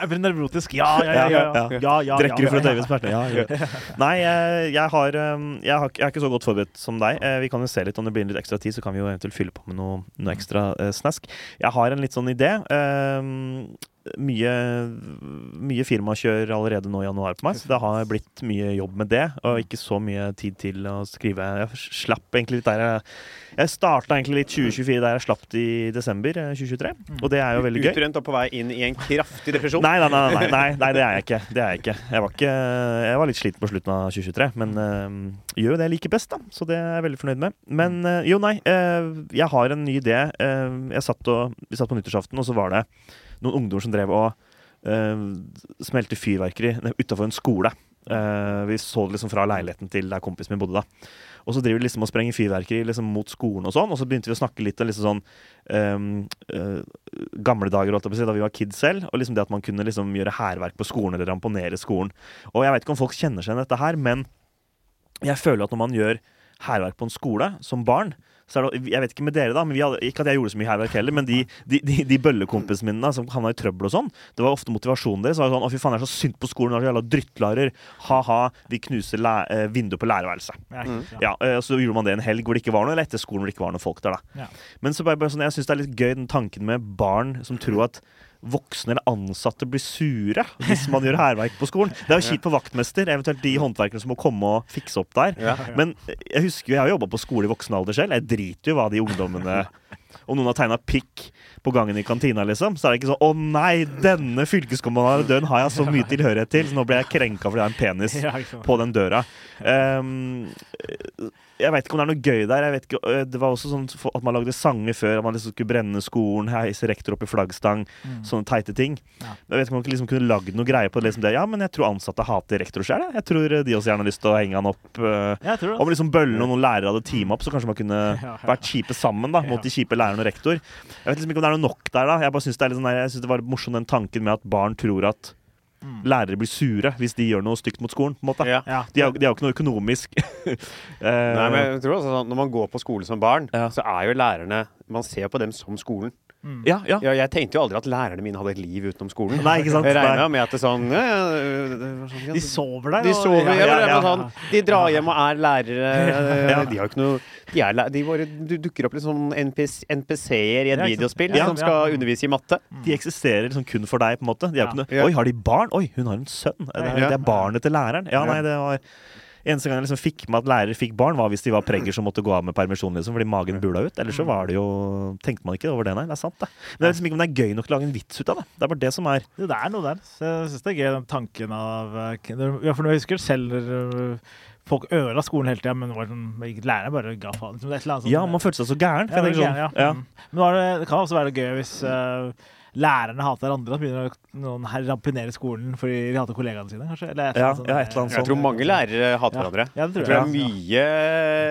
blir nevrotisk. Ja, ja, ja. ja, ja.
Ja, ja.
ja, ja,
Drikker du
ja,
for å
ja.
døyve smertene? Ja. jeg gjør det. Nei, jeg, jeg, har, um, jeg, har, ikke- jeg er ikke så godt forberedt som deg. Eh, Vi kan jo se litt Om det blir litt ekstra tid, så kan vi jo eventuelt fylle på med noe, noe ekstra eh, snask. Jeg har en litt sånn idé. Um, mye, mye firmakjør allerede nå i januar på meg, så det har blitt mye jobb med det. Og ikke så mye tid til å skrive. Jeg slapp egentlig litt der jeg Jeg starta egentlig litt 2024 der jeg slapp det i desember eh, 2023, og det er jo veldig gøy.
Utbrent og på vei inn i en kraftig depresjon.
Nei, nei, nei, nei, nei, nei det er jeg ikke. Det er jeg ikke. Jeg var, ikke, jeg var litt sliten på slutten av 2023, men eh, gjør jo det jeg liker best, da. Så det er jeg veldig fornøyd med. Men eh, jo, nei. eh, jeg har en ny idé. Eh, jeg satt og, vi satt på nyttårsaften, og så var det noen ungdommer som drev og eh, smelte fyrverkeri utafor en skole. Eh, vi så det liksom fra leiligheten til der kompisen min bodde da. Og så driver de liksom og sprenger fyrverkeri liksom mot skolen og sånn. Og så begynte vi å snakke litt om liksom sånn eh, eh, gamle dager holdt jeg på å si, da vi var kids selv, og liksom det at man kunne liksom gjøre hærverk på skolen eller ramponere skolen. Og jeg vet ikke om folk kjenner seg igjen i dette her, men jeg føler at når man gjør hærverk på en skole som barn så er det, jeg vet Ikke med dere da, men vi hadde, ikke at jeg gjorde så mye hærverk heller, men de, de, de, de bøllekompisene mine da, som havna i trøbbel og sånn, det var ofte motivasjonen deres. Så var det sånn, å fy faen, jeg er så synd på skolen, dere er så jævla drittlærer. Ha-ha, vi knuser læ eh, vinduet på lærerværelset.
Ja, ikke sant.
Ja, eh, og Så gjorde man det en helg hvor det ikke var noe, eller etter skolen hvor det ikke var noen folk der. da
Ja.
Men så bare, bare sånn, jeg syns det er litt gøy den tanken med barn som tror at voksne eller ansatte blir sure hvis man gjør hærverk på skolen. Det er jo kjipt for vaktmester, eventuelt de håndverkerne som må komme og fikse opp der. Men jeg husker jo, jeg har jobba på skole i voksen alder selv. Jeg driter jo hva de ungdommene Om noen har tegna pikk på gangen i kantina, liksom, så er det ikke sånn 'Å nei, denne fylkeskommandaøren har jeg så mye tilhørighet til', så nå ble jeg krenka fordi jeg har en penis
Ja, ikke sant.
på den døra. Ehm, jeg vet ikke om det er noe gøy der. Jeg vet ikke, øh, det var også sånn at man lagde sanger før. At man liksom skulle brenne skolen, heise rektor opp i flaggstang. Sånne teite ting.
Ja.
Jeg vet ikke om man liksom kunne lagd noe greie på det, liksom det. Ja, men jeg tror ansatte hater rektor sjøl. Jeg. jeg tror øh, de også gjerne har lyst til å henge han opp. øh,
Ja, jeg tror det.
Om liksom bøllene og noen lærere hadde teama opp, så kanskje man kunne
ja.
vært kjipe sammen da, mot de kjipe lærerne og rektor. Jeg vet liksom ikke om det er noe nok der, da. Jeg bare synes det, er litt sånn der, jeg synes det var morsom den tanken med at barn tror at
Mm.
lærere blir sure hvis de gjør noe stygt mot skolen, på en måte.
Ja.
Ja.
De har jo de har jo ikke noe økonomisk Eh,
Nei, men jeg tror også sånn, Når man går på skole som barn,
Ja.
så er jo lærerne Man ser på dem som skolen.
ja, ja.
Ja, jeg tenkte jo aldri at lærerne mine hadde et liv utenom skolen.
Nei, ikke sant?
Jeg
Nei.
regna med at det sånn ja, ja, det var sånn, ja,
De sover der.
De
og-
sover, ja,
ja, ja,
men
ja.
Sånn, de drar hjem og er lærere.
Ja.
De har jo ikke noe De, er, læ- de bare du- dukker opp litt sånn NPC NPC-er i
Ja,
et
ikke sant.
videospill
Ja,
som
ja.
skal undervise i matte.
De eksisterer liksom kun for deg, på en måte. De har ikke
Ja.
noe, oi, har de barn? Oi, hun har en sønn! Det er,
Ja.
det er barnet til læreren. Ja,
Ja.
nei, det var Eneste gang jeg liksom fikk med at lærere fikk barn, var hvis de var pregger som måtte gå av med permisjon liksom, fordi magen bula ut. Ellers så var det jo Tenkte man ikke over det, nei. Det er sant, det. Men jeg vet liksom ikke om det er gøy nok til å lage en vits ut av det. Det er bare det som er
Jo, det er noe der. Så jeg syns det er gøy, den tanken av eh, k- Ja, for når jeg husker selv eh, Folk ødela skolen hele tida, men det var sånn, læreren bare ga faen. Liksom, det er et eller annet sånn-
Ja, man følte seg så
Ja,
gæren. for
det, er
jeg tenker
gøy, ja.
sånn, ja.
Mm. Men nå er det, det kan også være gøy hvis eh, lærerne hater hverandre. Da begynner noen her ramponere skolen fordi de hater kollegaene sine, kanskje. Eller et
Ja,
sånt,
ja, et eller annet
Jeg tror mange lærere hater
Ja.
hverandre.
Ja, det tror
Jeg tror det er
jeg,
mye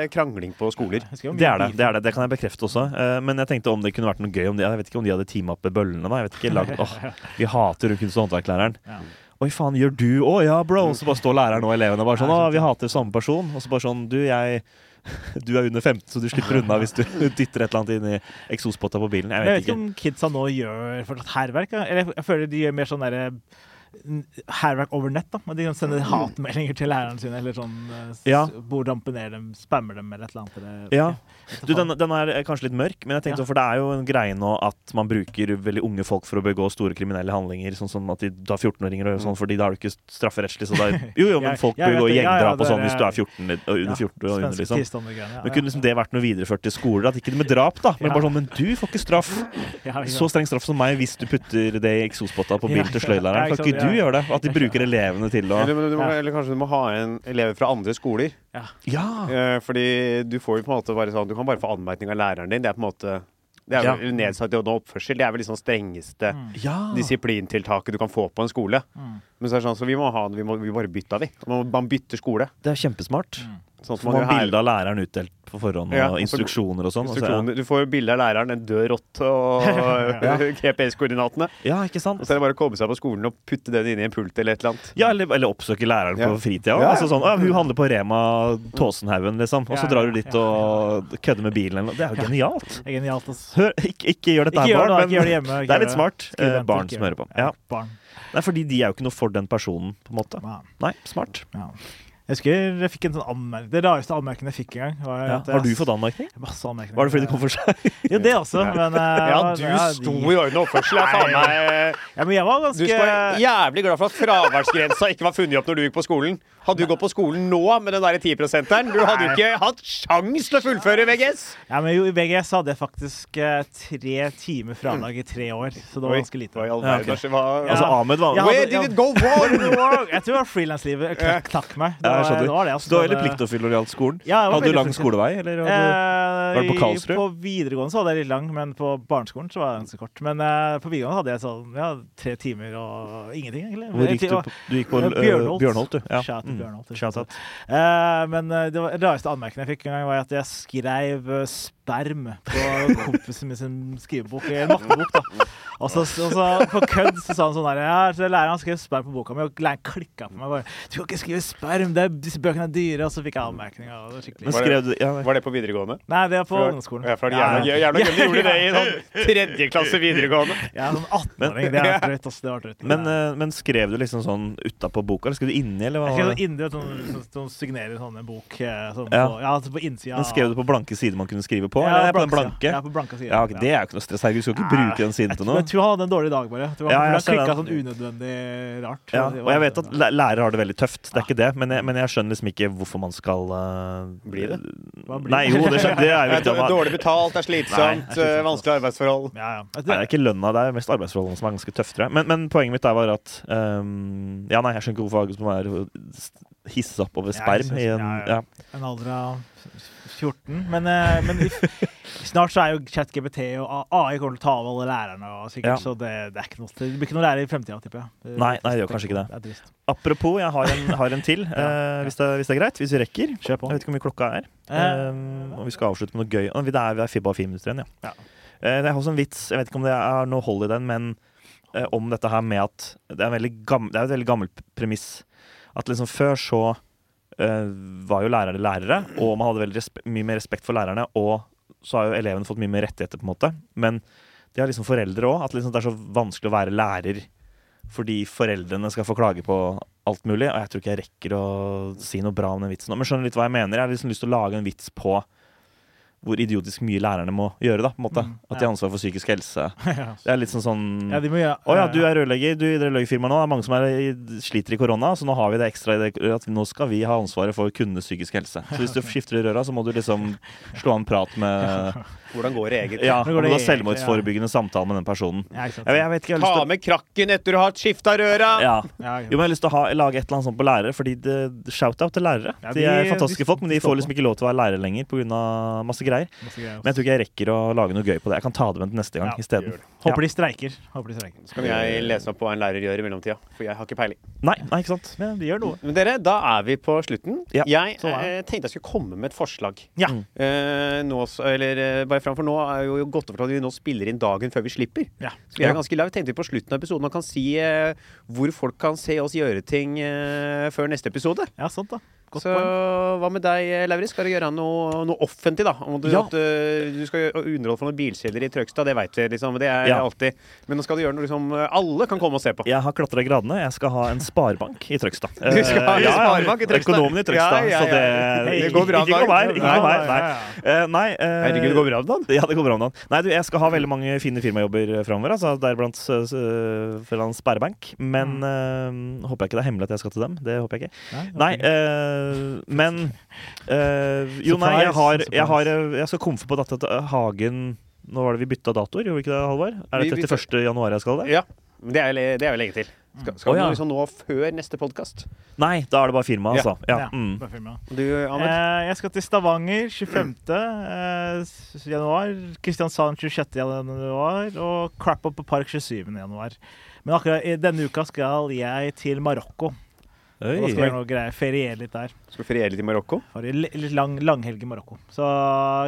eh, krangling på skoler.
Jeg husker jo mye
Det er det,
beef.
det er det. Det kan jeg bekrefte også. Eh, Men jeg tenkte om det kunne vært noe gøy om de, Jeg vet ikke om de hadde teamet opp med bøllene. da Jeg vet ikke, lagd, åh, Vi hater hun kunst- og håndverklæreren.
Ja.
Oi, faen, gjør du Å ja, bro! Og så bare står læreren og elevene bare sånn Å, vi hater samme person. Og så bare sånn Du, jeg Du er under 15, så du slipper unna hvis du dytter et eller annet inn i eksospotta på bilen. Jeg
Men
vet
ikke
ikke.
om kidsa nå gjør fortsatt hærverk. ja. Eller jeg, jeg føler de gjør mer sånn derre n- Hærverk over nett, da. Men De kan sende
Mm.
hatmeldinger til lærerne sine, eller sånn eh, s-
Ja.
Hvor dampener dem, spammer dem, eller et eller annet. Eller,
Ja.
Vet
Du,
faen.
den, den er kanskje litt mørk, men jeg tenkte sånn,
Ja.
for det er jo en greie nå at man bruker veldig unge folk for å begå store kriminelle handlinger. Sånn som at de da 14-åringer og sånn, fordi da er du ikke strafferettslig. Så da, jo, jo, men
Jeg-
folk
jeg vet
begår
det, ja, ja,
gjengdrap og
det er-
sånn hvis du er 14 eller- og
Ja,
under 14. Og under,
svenske
liksom.
tilstander-greiene, ja,
Men kunne liksom det vært noe videreført til skoler? At ikke det med drap, da, men
Ja.
bare sånn Men du får ikke straff!
ja, ja, ikke
Så
sant.
streng straff som meg hvis du putter det i eksospotta på bilen til
Ja, ja, ja,
sløydlæreren. Kan
ikke
ikke
sant,
du
ja.
gjøre det? At de bruker elevene til å
Eller, men du må,
Ja.
eller kanskje du må ha en elever fra andre skoler.
Ja!
Eh, Fordi du får jo på en måte bare sånn Du kan bare få anmerkning av læreren din. Det er på en måte Det er
Ja.
vel nedsatt i ånd og oppførsel. Det er vel liksom strengeste
Mm.
Ja!
disiplintiltaket du kan få på en skole.
Mm.
Men så er det sånn, så vi må ha den, vi, må, vi bare bytta, vi. Man, man bytter skole.
Det er kjempesmart.
Mm.
Sånn som
Får
man
man
gjør her.
bilde av læreren utdelt på forhånd,
Ja,
og
altså-
og så-
instruksjoner og sånn. og så- ja.
Instruksjoner. Du får jo bilde av læreren, en død rotte og GPS-koordinatene.
Ja, ikke sant?
Og
Altså-
så er det bare å komme seg på skolen og putte den inn i en pult eller et eller annet.
Ja, eller, eller oppsøke læreren
Ja.
på fritida.
Ja, ja.
Altså sånn, «Å, 'Hun handler på Rema Tåsenhaugen', liksom. Og
Ja,
så drar du
ja,
dit og kødder med bilen. Eller noe. Det er jo genialt.
Det er genialt, ass.
Hør, ikke, ikke gjør dette
Ikke
her,
gjør det,
barn,
ikke gjør det hjemme. ikke
det er
gjør
litt smart.
Skriv
eh,
vent,
barn
ikke
som
gjør
hører
det.
på. Ja.
Barn.
Nei, fordi de er jo ikke noe for den personen, på en måte.
Ja.
Nei, smart.
Ja. Jeg husker jeg fikk en sånn anmerk Det rareste anmerkningen jeg fikk en gang. Var
Ja.
at jeg-
Har du fått anmerkning?
Masse anmerkninger.
Var det fordi du kom for seg?
Ja, det også, men eh,
Ja,
var-
du
ja,
sto
de-
i orden og oppførsel. Jeg faen meg
Ja, men jeg var
Du skal være
ganske
jævlig glad for at fraværsgrensa ikke var funnet opp når du gikk på skolen. Hadde du gått på skolen nå med den der 10-prosenteren, du hadde jo ikke hatt sjans til å fullføre VGS.
ja, men jo, I VGS hadde jeg faktisk eh, tre timer fradrag i tre år, så det var ganske lite.
Oi, all
Ja, ok.
verden, altså, hva-
Altså,
Ja.
Ahmed var
Ja,
Where
det-
did it go wrong?
Jeg tror det var frilanslivet knakk, knakk meg. Det
Ja, jeg
var,
skjønner.
det var det.
Så du var veldig pliktoppfyller når det gjaldt skolen?
Ja, jeg var
hadde du
veldig
lang
flink.
skolevei? Eller hadde
Eh,
Var det på
i-
Karlsrud?
På videregående så hadde jeg litt lang, men på barneskolen så var jeg ganske kort. Men eh, på videregående hadde jeg sånn ja, tre timer og ingenting, egentlig.
du, hvor gikk du? På, du gikk på eh, Bjørnholt. du. Ja.
Shout out
Mm.
Bjørnholt.
Shout out.
Eh, men eh, det var- det rareste anmerkningen jeg fikk en gang, var at jeg skrev eh, sperm på kompisen min sin skrivebok, i en mattebok, da. Og så, og så på kødd så sa han sånn der, ja, så læreren skrev sperm på boka mi, og læreren klikka på meg bare 'Du kan ikke skrive sperm, det er, disse bøkene er dyre', og så fikk jeg anmerkning. Og det var skikkelig
Men skrev du ja, nei.
Var det på videregående?
Nei, det er på ungdomsskolen.
Ja, for det er jævla gøy jævla gøy. Du gjorde det i sånn tredje klasse videregående.
Jeg er sånn 18-åring. Det er drøyt. ass. Det var drøyt.
Men, eh, men skrev du liksom sånn utapå boka, eller skrev du inni, eller hva?
jeg skrev
var
sånn
det?
inni som sånn, sånn, signerer sånn en bok eh, sånn
Ja.
på, ja, altså på innsida.
Men skrev du på blanke sider man kunne skrive på?
Ja,
eller på den
blanke sida.
blanke?
Ja, på blanke sida.
Ja, ok, Det er jo ikke noe stress. Herregud, du skal ikke bruke den siden til
Men
noe.
jeg tror han hadde en dårlig dag, bare. Jeg tror
Ja,
han
jeg
ja,
ser
klikka
den.
sånn unødvendig rart.
Ja,
Det
og
var-
jeg vet at læ- lærere har det veldig tøft, det er ikke det, men jeg, men jeg skjønner liksom ikke hvorfor man skal eh,
Blir det?
Hva blir
Nei,
det?
jo, det, skjønner, det er jo
Det
viktig.
er
å ha-
Dårlig betalt, det er slitsomt,
Nei, det er slitsomt.
vanskelige arbeidsforhold.
ja, Altså, ja.
Nei, det er ikke lønna, det er mest arbeidsforholdene som er ganske tøffe, tror jeg. Men, men poenget mitt der var at ehm, Ja, nei, jeg skjønner ikke hvorfor Agus må være hisse opp over
Ja, jeg
sperm
synes-
i en
ja,
ja.
ja. En alder av 14. Men, eh, men i- snart så er jo ChatGPT og A- AI kommer til å ta over alle lærerne, og sikkert,
Ja.
så det, det, er ikke noe, det blir ikke noen lærere i fremtida, tipper jeg. Det-
Nei, nei, det gjør kanskje ikke det.
Det er trist.
Apropos, jeg har en, har en til, eh, hvis, det, hvis det er greit? Hvis vi rekker?
Kjør på.
Jeg vet ikke hvor mye klokka er.
Eh,
Ehm, og vi skal avslutte med noe gøy. Og vi- Det er, vi er fibba fire minutter igjen, ja.
Ja.
Eh, det er også en vits, jeg vet ikke om det er noe hold i den, men eh, om dette her med at Det er, en veldig gam- det er et veldig gammelt premiss. At liksom før så eh, var jo lærere lærere, og man hadde veldig respe mye mer respekt for lærerne, og så har jo elevene fått mye mer rettigheter, på en måte. Men de har liksom foreldre òg, at liksom det er så vanskelig å være lærer fordi foreldrene skal få klage på alt mulig. Og jeg tror ikke jeg rekker å si noe bra om den vitsen. nå, Men skjønner litt hva jeg mener. Jeg har liksom lyst til å lage en vits på hvor idiotisk mye lærerne må gjøre. da, på en måte.
Mm,
At de
ja.
har ansvar for psykisk helse.
Ja.
Det er litt sånn sånn
ja, de må gjøre
å ja, du er rørlegger, du i det rørleggerfirmaet nå. Det er mange som er, i- sliter i korona, så nå har vi det ekstra i det at nå skal vi ha ansvaret for kundenes psykiske helse. Så hvis du skifter i røra, så må du liksom slå en prat med
Hvordan går det egentlig?
Ja,
Hvordan går
og
det
da
egentlig, ja.
selvmordsforebyggende samtale med den personen.
Ja, ikke sant.
Jeg, jeg vet ikke, jeg har lyst
Ta
til å-
med krakken etter du har skifta røra!
Ja.
Ja, ikke sant.
Jo, men jeg har lyst til å ha, lage et eller annet sånt på lærere, fordi det, shout-out til lærere.
Ja,
de,
de-
er fantastiske
de-
folk, men de
de
får
står
liksom
på.
ikke lov til å være lærere lenger pga.
Masse
masse greier.
greier altså. også.
Men jeg tror ikke jeg rekker å lage noe gøy på det. Jeg kan ta det med til neste gang
Ja,
isteden.
Håper de streiker. Håper de streiker.
Så kan jeg lese meg opp på hva en lærer gjør i mellomtida, for jeg har ikke peiling.
Nei, nei, ikke sant. Men de gjør noe.
Men dere, da er vi på slutten.
Ja,
jeg
sånn er
eh, tenkte jeg skulle komme med et forslag.
Ja.
Eh, nå, s- eller eh, bare framfor nå er jo godt over at vi nå spiller inn dagen før vi slipper.
ja.
Så vi er ganske live. Tenkte vi på slutten av episoden man kan si eh, hvor folk kan se oss gjøre ting eh, før neste episode.
Ja, sant da. Godt
så
poeng.
hva med deg, eh, Lauritz? Skal du gjøre noe, noe offentlig, da? Om du,
Ja.
at, eh, du skal gjøre- underholde for noen bilkjeller i Trøgstad, det veit vi, liksom. Det er
Ja.
alltid. Men nå skal du gjøre noe liksom alle kan komme og se på.
Jeg har klatra gradene. Jeg skal ha en sparebank i Trøgstad.
Du skal ha en
Eh, ja, ja,
sparebank i Trøgstad.
Økonomen i Trøgstad.
Ja, ja, ja.
Så det,
Det går bra,
Ikke
Dag.
noe mer. Ikke noe
Nei,
mer.
nei,
Nei. Eh, nei eh,
Herregud, det går bra med dagen.
Ja, det går bra om dagen. Nei, du, jeg skal ha veldig mange fine firmajobber framover, altså, deriblant uh, Sparebank. Men
Mm.
eh, håper jeg ikke det er hemmelig at jeg skal til dem. Det håper jeg ikke.
Nei, ok.
Nei, eh, men eh, Jo, nei, jeg, har, jeg, har, jeg skal komfe på dette at eh, Hagen Nå var det vi bytta datoer, gjorde vi ikke det, Halvor? Er
Vi
det
bytta-
31. januar jeg skal det?
Ja. Men det er jo, det er jo lenge til. Skal, skal
Å, ja.
du liksom nå før neste podkast?
Nei, da er det bare firma,
Ja.
altså. Ja.
Ja,
Mm.
bare filmen.
Du, Ahmed?
Eh, jeg skal til Stavanger 25. eh, s- januar. Kristiansand 26. januar. Og Crap Up på Park 27. januar. Men akkurat i denne uka skal jeg til Marokko. Og Da skal jeg
Oi.
gjøre noe greier, feriere litt der.
Skal du feriere litt i Marokko?
Har en li- litt lang, langhelg i Marokko. Så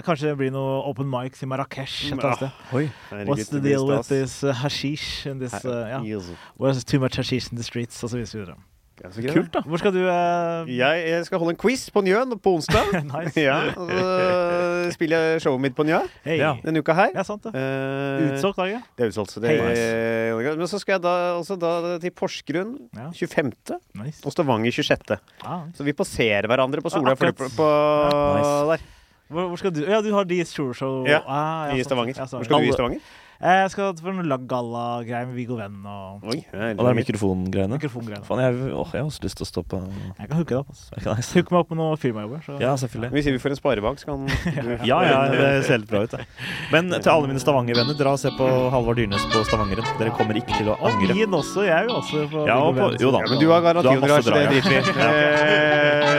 kanskje det blir noe open mics i Marrakech et eller
Ah,
annet sted. What's the deal with this uh, hashish and this uh, yeah,
Yes.
Where's too much hashish in the streets? Og så videre.
Kult.
Kult, da. Hvor skal du eh,
Jeg, jeg skal holde en quiz på Njøen på onsdag.
Nice.
ja, og så spiller jeg showet mitt på Njø
Hei.
Ja.
denne uka her.
ja, sant det.
Eh,
Utsolgt dag, ja.
Det er utsolgt. Så det,
Hei.
men så skal jeg da, også da til Porsgrunn
Ja.
25.
Nice.
og Stavanger 26.
Ah, nice.
Så vi passerer hverandre på Sola
Ja, akkurat.
flyplass på,
Ja,
der,
Hvor, hvor skal du? Ja, du har de Sure Show
Ja,
Ah,
i
sant.
Stavanger.
Ja,
Hvor skal du i Stavanger?
Eh, Jeg skal på en galla-greie med Viggo Venn og
Oi, det er
Og det er mikrofongreiene.
mikrofongreier.
Faen, jeg, åh, jeg har også lyst til å stå på Det
Jeg kan hooke det opp. Altså.
er ikke nice.
Hook meg opp med noen firmajobber. Så.
Ja, selvfølgelig.
Hvis vi får en sparebank, så kan du
Ja, ja, det ser litt bra ut, det. Men til alle mine Stavanger-venner, dra og se på Halvard Dyrnes på Stavangeren. Dere kommer ikke til å
Og
angre.
min også. Jeg er jo også på
Ja, og
Viggo
på,
Venn.
jo da.
Ja, men du har garantionerasj,
masse
det
drag, ja.
driter vi i. Eh,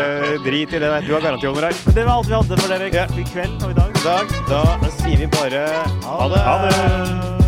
Drit i det der. Du har garantionerasj.
Det var alt vi hadde for dere
Ja.
i kveld og i dag.
I dag, da sier vi bare ha det.
Ha det!